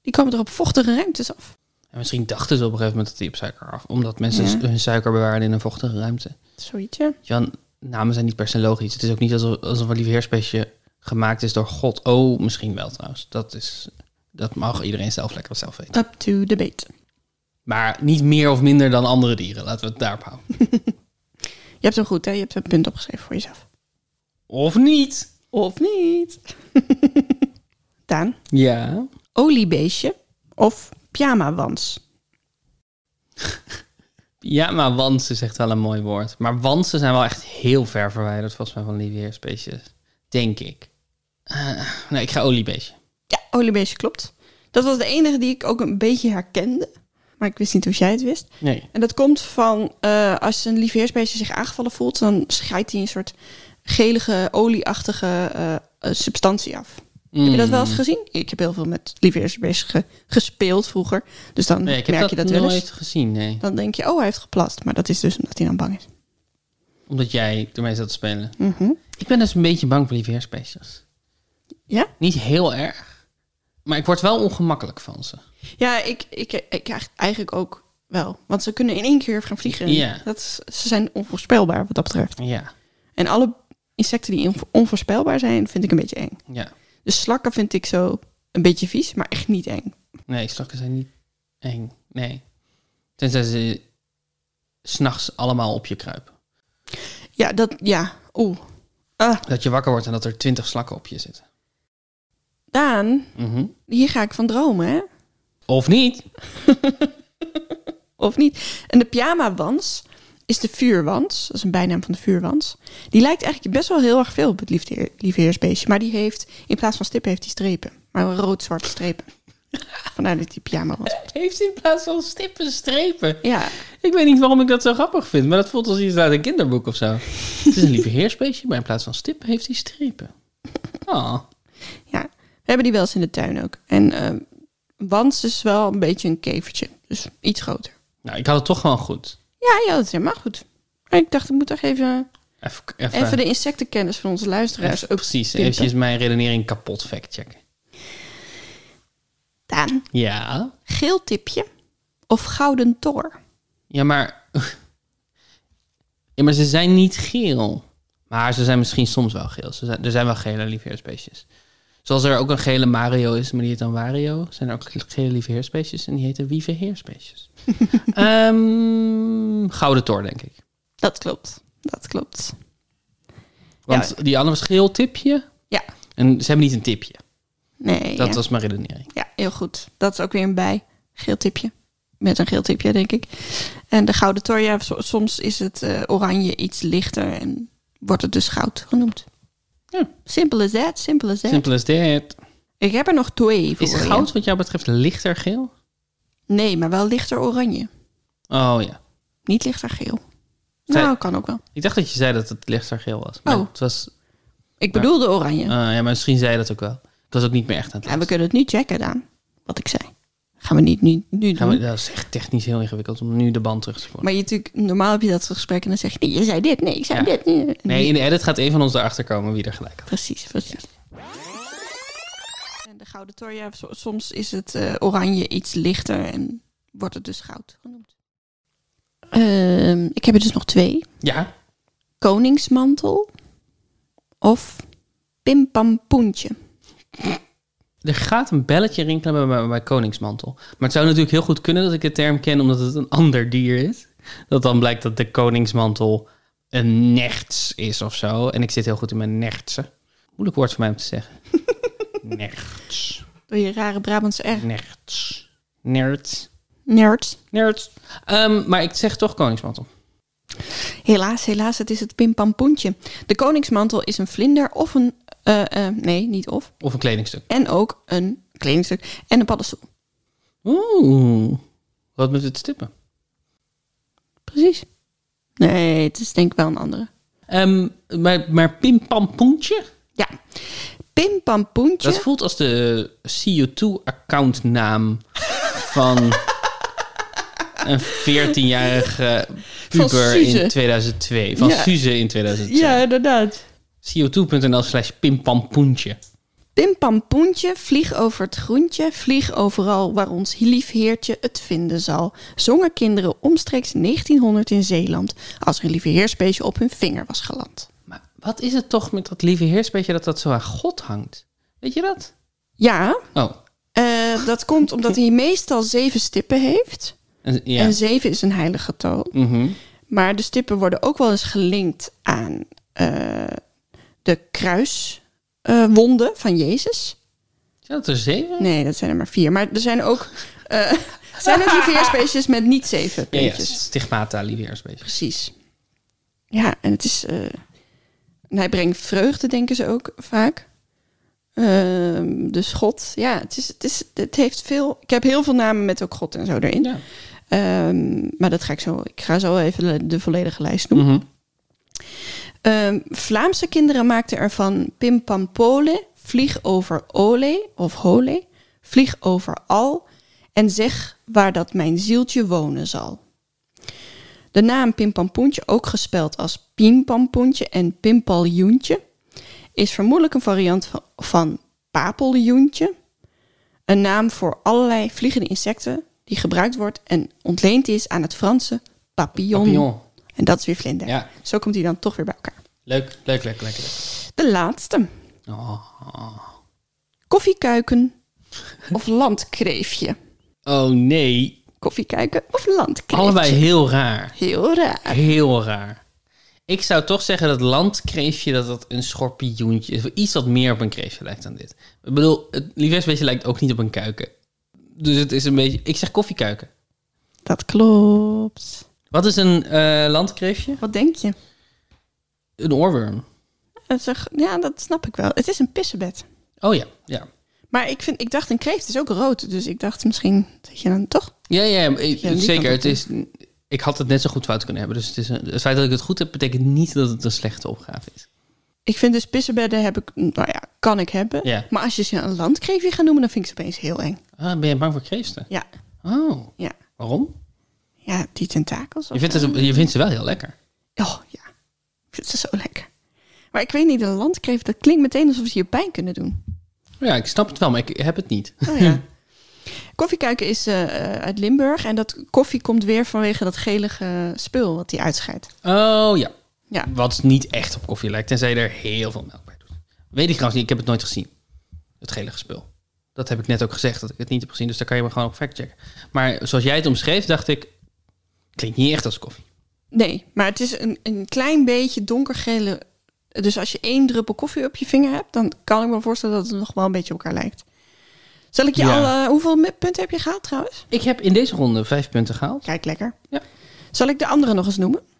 S2: Die komen er op vochtige ruimtes af.
S1: En misschien dachten ze op een gegeven moment dat die op suiker af. Omdat mensen
S2: Ja.
S1: s- hun suiker bewaren in een vochtige ruimte.
S2: Zoiets, ja.
S1: Jan, namen zijn niet per se logisch. Het is ook niet alsof, alsof een liefheerspesje gemaakt is door God. Oh, misschien wel trouwens. Dat, is, dat mag iedereen zelf lekker zelf weten.
S2: Up to debate.
S1: Maar niet meer of minder dan andere dieren. Laten we het daarop houden.
S2: Je hebt hem goed, hè? Je hebt een punt opgeschreven voor jezelf.
S1: Of niet?
S2: Of niet. Daan,
S1: Ja.
S2: oliebeestje of pyjama-wans.
S1: Ja, maar wansen is echt wel een mooi woord. Maar wansen zijn wel echt heel ver verwijderd volgens mij van liefheerspecies. Denk ik. Eh, nee, ik ga oliebeestje.
S2: Ja, oliebeestje klopt. Dat was de enige die ik ook een beetje herkende. Maar ik wist niet of jij het wist.
S1: Nee.
S2: En dat komt van eh, als een lieveheersbeestje zich aangevallen voelt, dan scheidt hij een soort gelige, olieachtige eh, eh, substantie af. Heb je dat
S1: Mm.
S2: wel eens gezien? Ik heb heel veel met lieveheersbeestjes ge- gespeeld vroeger. Dus dan
S1: Nee, ik heb
S2: merk
S1: dat,
S2: je dat wel eens.
S1: nooit gezien, nee.
S2: Dan denk je, oh, hij heeft geplast. Maar dat is dus omdat hij dan bang is.
S1: Omdat jij ermee zat te spelen.
S2: Mhm.
S1: Ik ben dus een beetje bang voor lieveheerspecies.
S2: Ja?
S1: Niet heel erg. Maar ik word wel ongemakkelijk van ze.
S2: Ja, ik, ik, ik eigenlijk- eigenlijk ook wel. Want ze kunnen in één keer gaan vliegen.
S1: Ja.
S2: Dat is- ze zijn onvoorspelbaar wat dat betreft.
S1: Ja.
S2: En alle insecten die onvo- onvoorspelbaar zijn, vind ik een beetje eng.
S1: Ja.
S2: Dus slakken vind ik zo een beetje vies, maar echt niet eng.
S1: Nee, slakken zijn niet eng. Nee. Tenzij ze s'nachts allemaal op je kruipen.
S2: Ja, dat, ja. Oeh. Ah,
S1: Dat je wakker wordt en dat er twintig slakken op je zitten.
S2: Daan,
S1: Mhm.
S2: hier ga ik van dromen, hè?
S1: Of niet.
S2: Of niet? En de pyjama-wans is de vuurwans. Dat is een bijnaam van de vuurwans. Die lijkt eigenlijk best wel heel erg veel op het liefde- liefheersbeestje. Maar die heeft, in plaats van stippen, heeft die strepen. Maar rood-zwarte strepen. Vandaar dat die pyjama was.
S1: Heeft in plaats van stippen strepen.
S2: Ja,
S1: Ik weet niet waarom ik dat zo grappig vind, maar dat voelt als iets uit een kinderboek of zo. Het is een lieve heersbeestje, maar in plaats van stippen heeft hij strepen. Oh.
S2: ja. We hebben die wel eens in de tuin ook. En ehm, wans is wel een beetje een kevertje. Dus iets groter.
S1: Nou, ik had het toch gewoon goed.
S2: Ja, ja, dat is helemaal goed. Maar ik dacht, ik moet toch even,
S1: Even, even,
S2: even de insectenkennis van onze luisteraars
S1: even-
S2: op.
S1: precies,
S2: pimpen.
S1: eventjes mijn redenering kapot factchecken.
S2: Daan,
S1: Ja.
S2: geel tipje of gouden tor?
S1: Ja, maar... Ja, maar ze zijn niet geel. Maar ze zijn misschien soms wel geel. Ze zijn, er zijn wel gele liefheersbeestjes. Zoals er ook een gele Mario is, maar die heet dan Wario. Zijn er ook gele liefheersbeestjes en die heten wieve heersbeestjes. Ehm, Gouden Tor, denk ik.
S2: Dat klopt. Dat klopt.
S1: Want die andere was geel tipje.
S2: Ja,
S1: En ze hebben niet een tipje.
S2: nee.
S1: Dat
S2: ja.
S1: was mijn redenering.
S2: ja, heel goed. Dat is ook weer een bij. Geel tipje. Met een geel tipje, denk ik. En de gouden tor, ja, so- soms is het eh, oranje iets lichter en wordt het dus goud genoemd.
S1: Ja.
S2: Simple as that, simple as that.
S1: Simple as that.
S2: Ik heb er nog twee voor
S1: Is
S2: je.
S1: goud wat jou betreft lichter geel?
S2: Nee, maar wel lichter oranje.
S1: Oh ja.
S2: Niet lichter geel.
S1: Zij-
S2: Nou, kan ook wel.
S1: Ik dacht dat je zei dat het lichter geel was. Maar
S2: Oh.
S1: het was
S2: Ik bedoelde oranje.
S1: Ah, ja, maar misschien zei je dat ook wel. Ik was ook niet meer echt aan het
S2: en we
S1: lezen.
S2: kunnen het nu checken, Daan. Wat ik zei. Gaan we niet nu, nu doen.
S1: Gaan we, dat is echt technisch heel ingewikkeld om nu de band terug te spoelen.
S2: Maar je natuurlijk, normaal heb je dat gesprek en dan zeg je... Nee, je zei dit. Nee, ik zei dit. Nee, En
S1: Nee, in de edit gaat een van ons erachter komen wie er gelijk had.
S2: Precies, precies. En de gouden tor, ja, so- soms is het eh, oranje iets lichter en wordt het dus goud genoemd. Ehm, ik heb er dus nog twee.
S1: Ja.
S2: Koningsmantel of pimpampoentje.
S1: Er gaat een belletje rinkelen bij, bij, bij Koningsmantel. Maar het zou natuurlijk heel goed kunnen dat ik de term ken omdat het een ander dier is. Dat dan blijkt dat de Koningsmantel een nerts is of zo. En ik zit heel goed in mijn nertsen. Moeilijk woord voor mij om te zeggen. nerts.
S2: Door je rare Brabantse R.
S4: Nerds. Nerds.
S2: Nerd.
S4: Nerds.
S1: Ehm, maar ik zeg toch koningsmantel.
S2: Helaas, helaas, het is het pimpampoentje. De koningsmantel is een vlinder of een... eh, eh, nee, niet of.
S1: Of een kledingstuk.
S2: En ook een kledingstuk en een paddenstoel.
S1: Oeh. Wat met het stippen?
S2: Precies. Nee, het is denk ik wel een andere.
S1: Ehm, maar, maar pimpampoentje?
S2: Ja. Pimpampoentje.
S1: Dat voelt als de CO2-accountnaam van een 14-jarige
S2: Van
S1: puber
S2: Suze.
S1: in 2002. Van
S2: Ja.
S1: Suze in 2002.
S2: Ja, inderdaad.
S1: CO2.nl slash pimpampoentje.
S2: Pimpampoentje, vlieg over het groentje, vlieg overal waar ons lief heertje het vinden zal. Zongen kinderen omstreeks 1900 in Zeeland, als er een lieve heersbeestje op hun vinger was geland.
S1: Maar wat is het toch met dat lieve heersbeetje dat dat zo aan God hangt? Weet je dat?
S2: Ja,
S1: Oh,
S2: eh, dat komt omdat hij meestal zeven stippen heeft.
S1: en- ja.
S2: En zeven is een heilig getal.
S1: Mhm.
S2: Maar de stippen worden ook wel eens gelinkt aan eh, de kruiswonden van Jezus.
S1: Zijn dat er zeven?
S2: Nee, dat zijn er maar vier. Maar er zijn ook, eh zijn ook lieve heersbeestjes met niet zeven
S1: Ja, ja,
S2: puntjes.
S1: stigmata lieve heersbeetje.
S2: Precies. Ja, en het is. eh, en hij brengt vreugde, denken ze ook vaak. Ehm, dus God, ja, het, is, het, is, het heeft veel. Ik heb heel veel namen met ook God en zo erin.
S1: Ja.
S2: Ehm, maar dat ga ik zo. Ik ga zo even de, de volledige lijst
S1: Mhm.
S2: noemen. Ehm, Vlaamse kinderen maakten ervan Pimpampole, Vlieg over Ole of Hole, Vlieg over Al en zeg waar dat mijn zieltje wonen zal. De naam Pimpampoentje, ook gespeld als Pimpampoentje en Pimpaljoentje, is vermoedelijk een variant van, van Papeljoentje. Een naam voor allerlei vliegende insecten die gebruikt wordt en ontleend is aan het Franse papillon.
S1: Papillon.
S2: En dat is weer vlinder.
S1: Ja.
S2: Zo komt hij dan toch weer bij elkaar.
S1: Leuk, leuk, leuk, leuk. leuk.
S2: De laatste.
S1: Oh.
S2: Koffiekuiken of landkreefje.
S1: oh nee,
S2: Koffiekuiken of landkreefje.
S1: allebei heel raar.
S2: Heel raar.
S1: Heel raar. Ik zou toch zeggen dat landkreefje dat dat een schorpioentje is. Iets wat meer op een kreefje lijkt dan dit. Ik bedoel, het liefhebbersbeestje lijkt ook niet op een kuiken. Dus het is een beetje... Ik zeg koffiekuiken.
S2: Dat klopt.
S1: Wat is een eh, landkreefje?
S2: Wat denk je?
S1: Een oorworm.
S2: Het is een- ja, dat snap ik wel. Het is een pissebed.
S1: Oh ja, ja.
S2: Maar ik, vind, ik dacht, een kreeft is ook rood. Dus ik dacht misschien dat je dan toch...
S1: Ja, ja, ja, ik-
S2: Ja, die
S1: zeker.
S2: kant
S1: Het
S2: op.
S1: is, ik had het net zo goed fout kunnen hebben. Dus het, is een- het feit dat ik het goed heb, betekent niet dat het een slechte opgave is.
S2: Ik vind dus pissebedden heb ik, nou ja, kan ik hebben.
S1: Ja.
S2: Maar als je ze een landkreefje gaat noemen, dan vind ik ze opeens heel eng.
S1: Ah, ben je bang voor kreeften?
S2: Ja,
S1: Oh,
S2: ja.
S1: waarom?
S2: Ja, die tentakels.
S1: Je vindt, het, je vindt ze wel heel lekker.
S2: Oh ja, ik vind ze zo lekker. Maar ik weet niet, een landkreeft, dat klinkt meteen alsof ze je pijn kunnen doen.
S1: Ja, ik snap het wel, maar ik heb het niet.
S2: Oh ja. Koffiekuiken is eh, eh, uit Limburg en dat koffie komt weer vanwege dat gelige eh, spul wat die uitscheidt.
S1: Oh ja.
S2: Ja.
S1: Wat niet echt op koffie lijkt, tenzij je er heel veel melk bij doet. Weet ik trouwens niet, ik heb het nooit gezien. Het gelige spul. Dat heb ik net ook gezegd, dat ik het niet heb gezien. Dus daar kan je me gewoon op factchecken. Maar zoals jij het omschreef, dacht ik... Klinkt niet echt als koffie.
S2: Nee, maar het is een, een klein beetje donkergele. Dus als je één druppel koffie op je vinger hebt, dan kan ik me voorstellen dat het nog wel een beetje op elkaar lijkt. Zal ik je
S1: Ja.
S2: al. eh, hoeveel me- punten heb je gehaald trouwens?
S1: Ik heb in deze ronde vijf punten gehaald.
S2: Kijk lekker.
S1: Ja.
S2: Zal ik de andere nog eens noemen?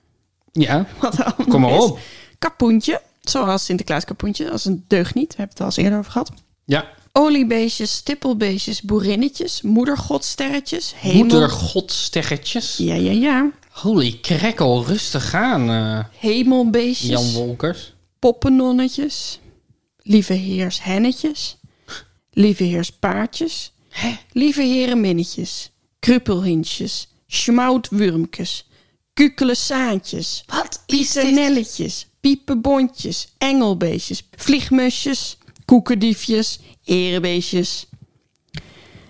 S1: Ja,
S2: Wat er allemaal
S1: Kom maar
S2: is.
S1: op.
S2: Kapoentje, zoals Sinterklaas kapoentje, als een deugniet. We hebben het al eens eerder over gehad.
S1: ja.
S2: Oliebeestjes, stippelbeestjes, boerinnetjes, moedergodsterretjes, hemel...
S1: Moedergodsterretjes.
S2: Ja, ja, ja.
S1: Holy crackle, rustig aan, eh,
S2: Hemelbeestjes,
S1: Jan Wolkers.
S2: poppennonnetjes, lieve heers hennetjes, lieve heers paardjes, lieve heren minnetjes, krupelhintjes, schmoutwurmkes, kukelesaantjes,
S1: Wat
S2: Pieternelletjes, piepenbontjes, engelbeestjes, vliegmusjes, koekendiefjes, erebeestjes.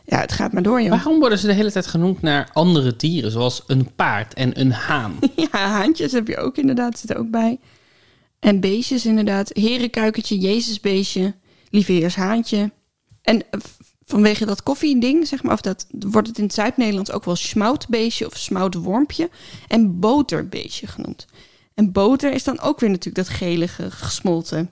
S2: Ja, het gaat maar door, joh.
S1: Waarom worden ze de hele tijd genoemd naar andere dieren, zoals een paard en een haan?
S2: Ja, haantjes heb je ook inderdaad, zit er ook bij. En beestjes inderdaad. Herenkuikentje, Jezusbeestje, lieveheershaantje. En eh, v- vanwege dat koffieding, zeg maar, of dat wordt het in het Zuid-Nederlands ook wel smoutbeestje of smoutwormpje en boterbeestje genoemd. En boter is dan ook weer natuurlijk dat gelige gesmolten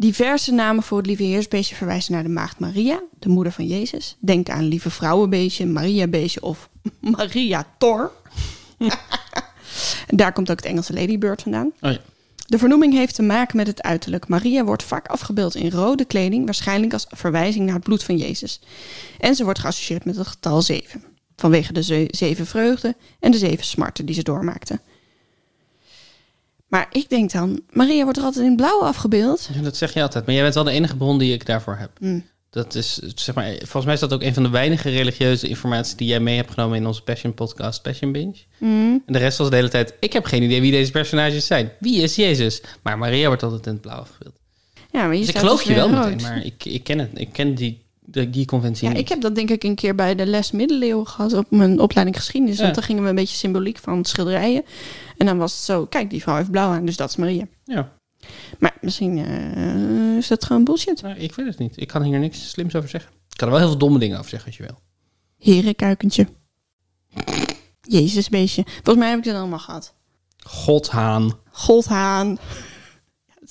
S2: Diverse namen voor het lieve heersbeestje verwijzen naar de maagd Maria, de moeder van Jezus. Denk aan lieve vrouwenbeestje, Mariabeestje of Maria Tor. Daar komt ook het Engelse ladybird vandaan.
S1: Oh ja.
S2: De vernoeming heeft te maken met het uiterlijk. Maria wordt vaak afgebeeld in rode kleding, waarschijnlijk als verwijzing naar het bloed van Jezus. En ze wordt geassocieerd met het getal zeven, vanwege de ze- zeven vreugden en de zeven smarten die ze doormaakte. Maar ik denk dan, Maria wordt er altijd in blauw afgebeeld.
S1: Ja, Dat zeg je altijd. Maar jij bent wel de enige bron die ik daarvoor heb.
S2: Mm.
S1: Dat is, eh, zeg maar, volgens mij is dat ook een van de weinige religieuze informatie die jij mee hebt genomen in onze Passion Podcast, Passion Binge.
S2: Mm.
S1: En de rest was de hele tijd, ik heb geen idee wie deze personages zijn. Wie is Jezus? Maar Maria wordt altijd in het blauw afgebeeld.
S2: Ja, maar
S1: Dus
S2: je
S1: ik
S2: staat
S1: geloof
S2: dus
S1: je
S2: weer
S1: wel
S2: rood.
S1: meteen, maar ik, ik ken het. Ik ken die, de- die conventie
S2: Ja,
S1: niet.
S2: ik heb dat denk ik een keer bij de les middeleeuwen gehad op mijn opleiding geschiedenis.
S1: Ja.
S2: Want dan gingen we een beetje symboliek van schilderijen. En dan was het zo, kijk, die vrouw heeft blauw aan, dus dat is Maria.
S1: Ja,
S2: Maar misschien eh, is dat gewoon bullshit.
S1: nou, ik weet het niet. Ik kan hier niks slims over zeggen. Ik kan er wel heel veel domme dingen over zeggen als je wil.
S2: Herenkuikentje. Jezusbeestje. Volgens mij heb ik dat allemaal gehad.
S1: Godhaan.
S2: Oh, Goldhaan.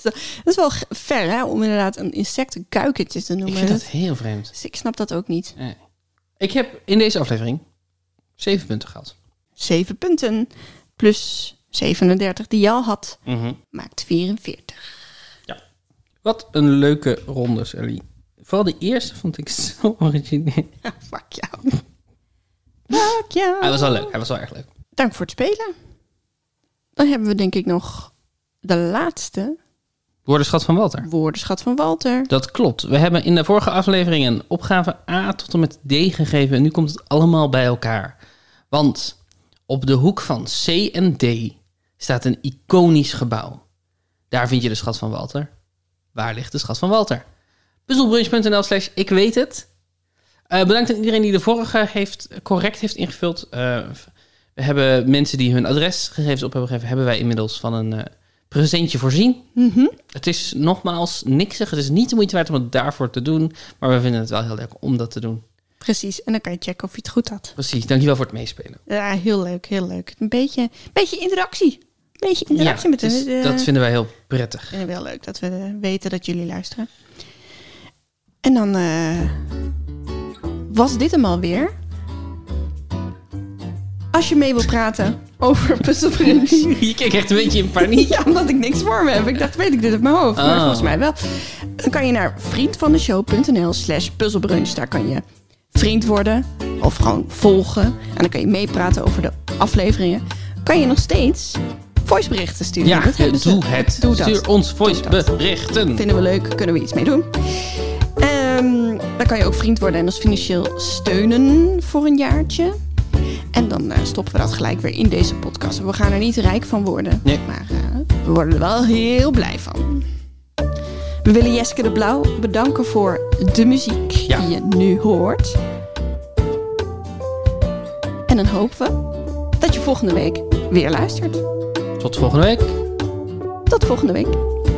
S2: Dat is wel ge- ver, hè? Om inderdaad een insect een kuikentje te noemen.
S1: Ik vind dat heel vreemd.
S2: Dus ik snap dat ook niet.
S1: Nee. Eh, Ik heb in deze aflevering zeven punten gehad.
S2: Zeven punten plus 37 die je al had,
S1: Mhm.
S2: maakt 44.
S1: Wat een leuke ronde, Sally. Vooral de eerste vond ik zo origineel.
S2: Fuck jou. Fuck jou.
S1: Hij was wel leuk, hij was wel erg leuk.
S2: Dank voor het spelen. Dan hebben we denk ik nog de laatste
S1: Woordenschat van Walter.
S2: woordenschat van Walter.
S1: Dat klopt. We hebben in de vorige aflevering een opgave A tot en met D gegeven. En nu komt het allemaal bij elkaar. Want op de hoek van C en D staat een iconisch gebouw. Daar vind je de schat van Walter. Waar ligt de schat van Walter? Puzzelbrunch.nl slash ik weet het. Eh, bedankt aan iedereen die de vorige heeft, correct heeft ingevuld. Eh, we hebben mensen die hun adresgegevens op hebben gegeven, hebben wij inmiddels van een eh, presentje voorzien. Het is nogmaals niksig. Het is niet de moeite waard om het daarvoor te doen. Maar we vinden het wel heel leuk om dat te doen.
S2: Precies, en dan kan je checken of je het goed had.
S1: Precies, dankjewel voor het meespelen.
S2: Ja, heel leuk, heel leuk. Een beetje, beetje interactie. Een beetje interactie met
S1: het is-
S2: ons. eh,
S1: dus dat vinden wij heel prettig.
S2: vinden we heel leuk dat we eh, weten dat jullie luisteren. En dan eh, was dit hem alweer. Als je mee wil praten over puzzelbrunch.
S1: Je kijkt echt een beetje in paniek.
S2: Ja, omdat ik niks voor me heb. Ik dacht, weet ik dit uit mijn hoofd. Maar
S1: Oh.
S2: volgens mij wel. Dan kan je naar vriendvandeshow.nl slash puzzelbrunch. Daar kan je vriend worden of gewoon volgen. En dan kan je meepraten over de afleveringen. Kan je nog steeds voiceberichten sturen.
S1: Ja,
S2: Dat hebben ze.
S1: doe het.
S2: Doe dat.
S1: Stuur ons voiceberichten.
S2: Vinden we leuk, kunnen we iets mee doen. Ehm, dan kan je ook vriend worden en ons financieel steunen voor een jaartje. En dan eh, stoppen we dat gelijk weer in deze podcast. We gaan er niet rijk van worden.
S1: Nee.
S2: Maar eh, we worden er wel heel blij van. We willen Jeske de Blauw bedanken voor de muziek
S1: Ja.
S2: die je nu hoort. En dan hopen we dat je volgende week weer luistert.
S1: Tot volgende week.
S2: Tot volgende week.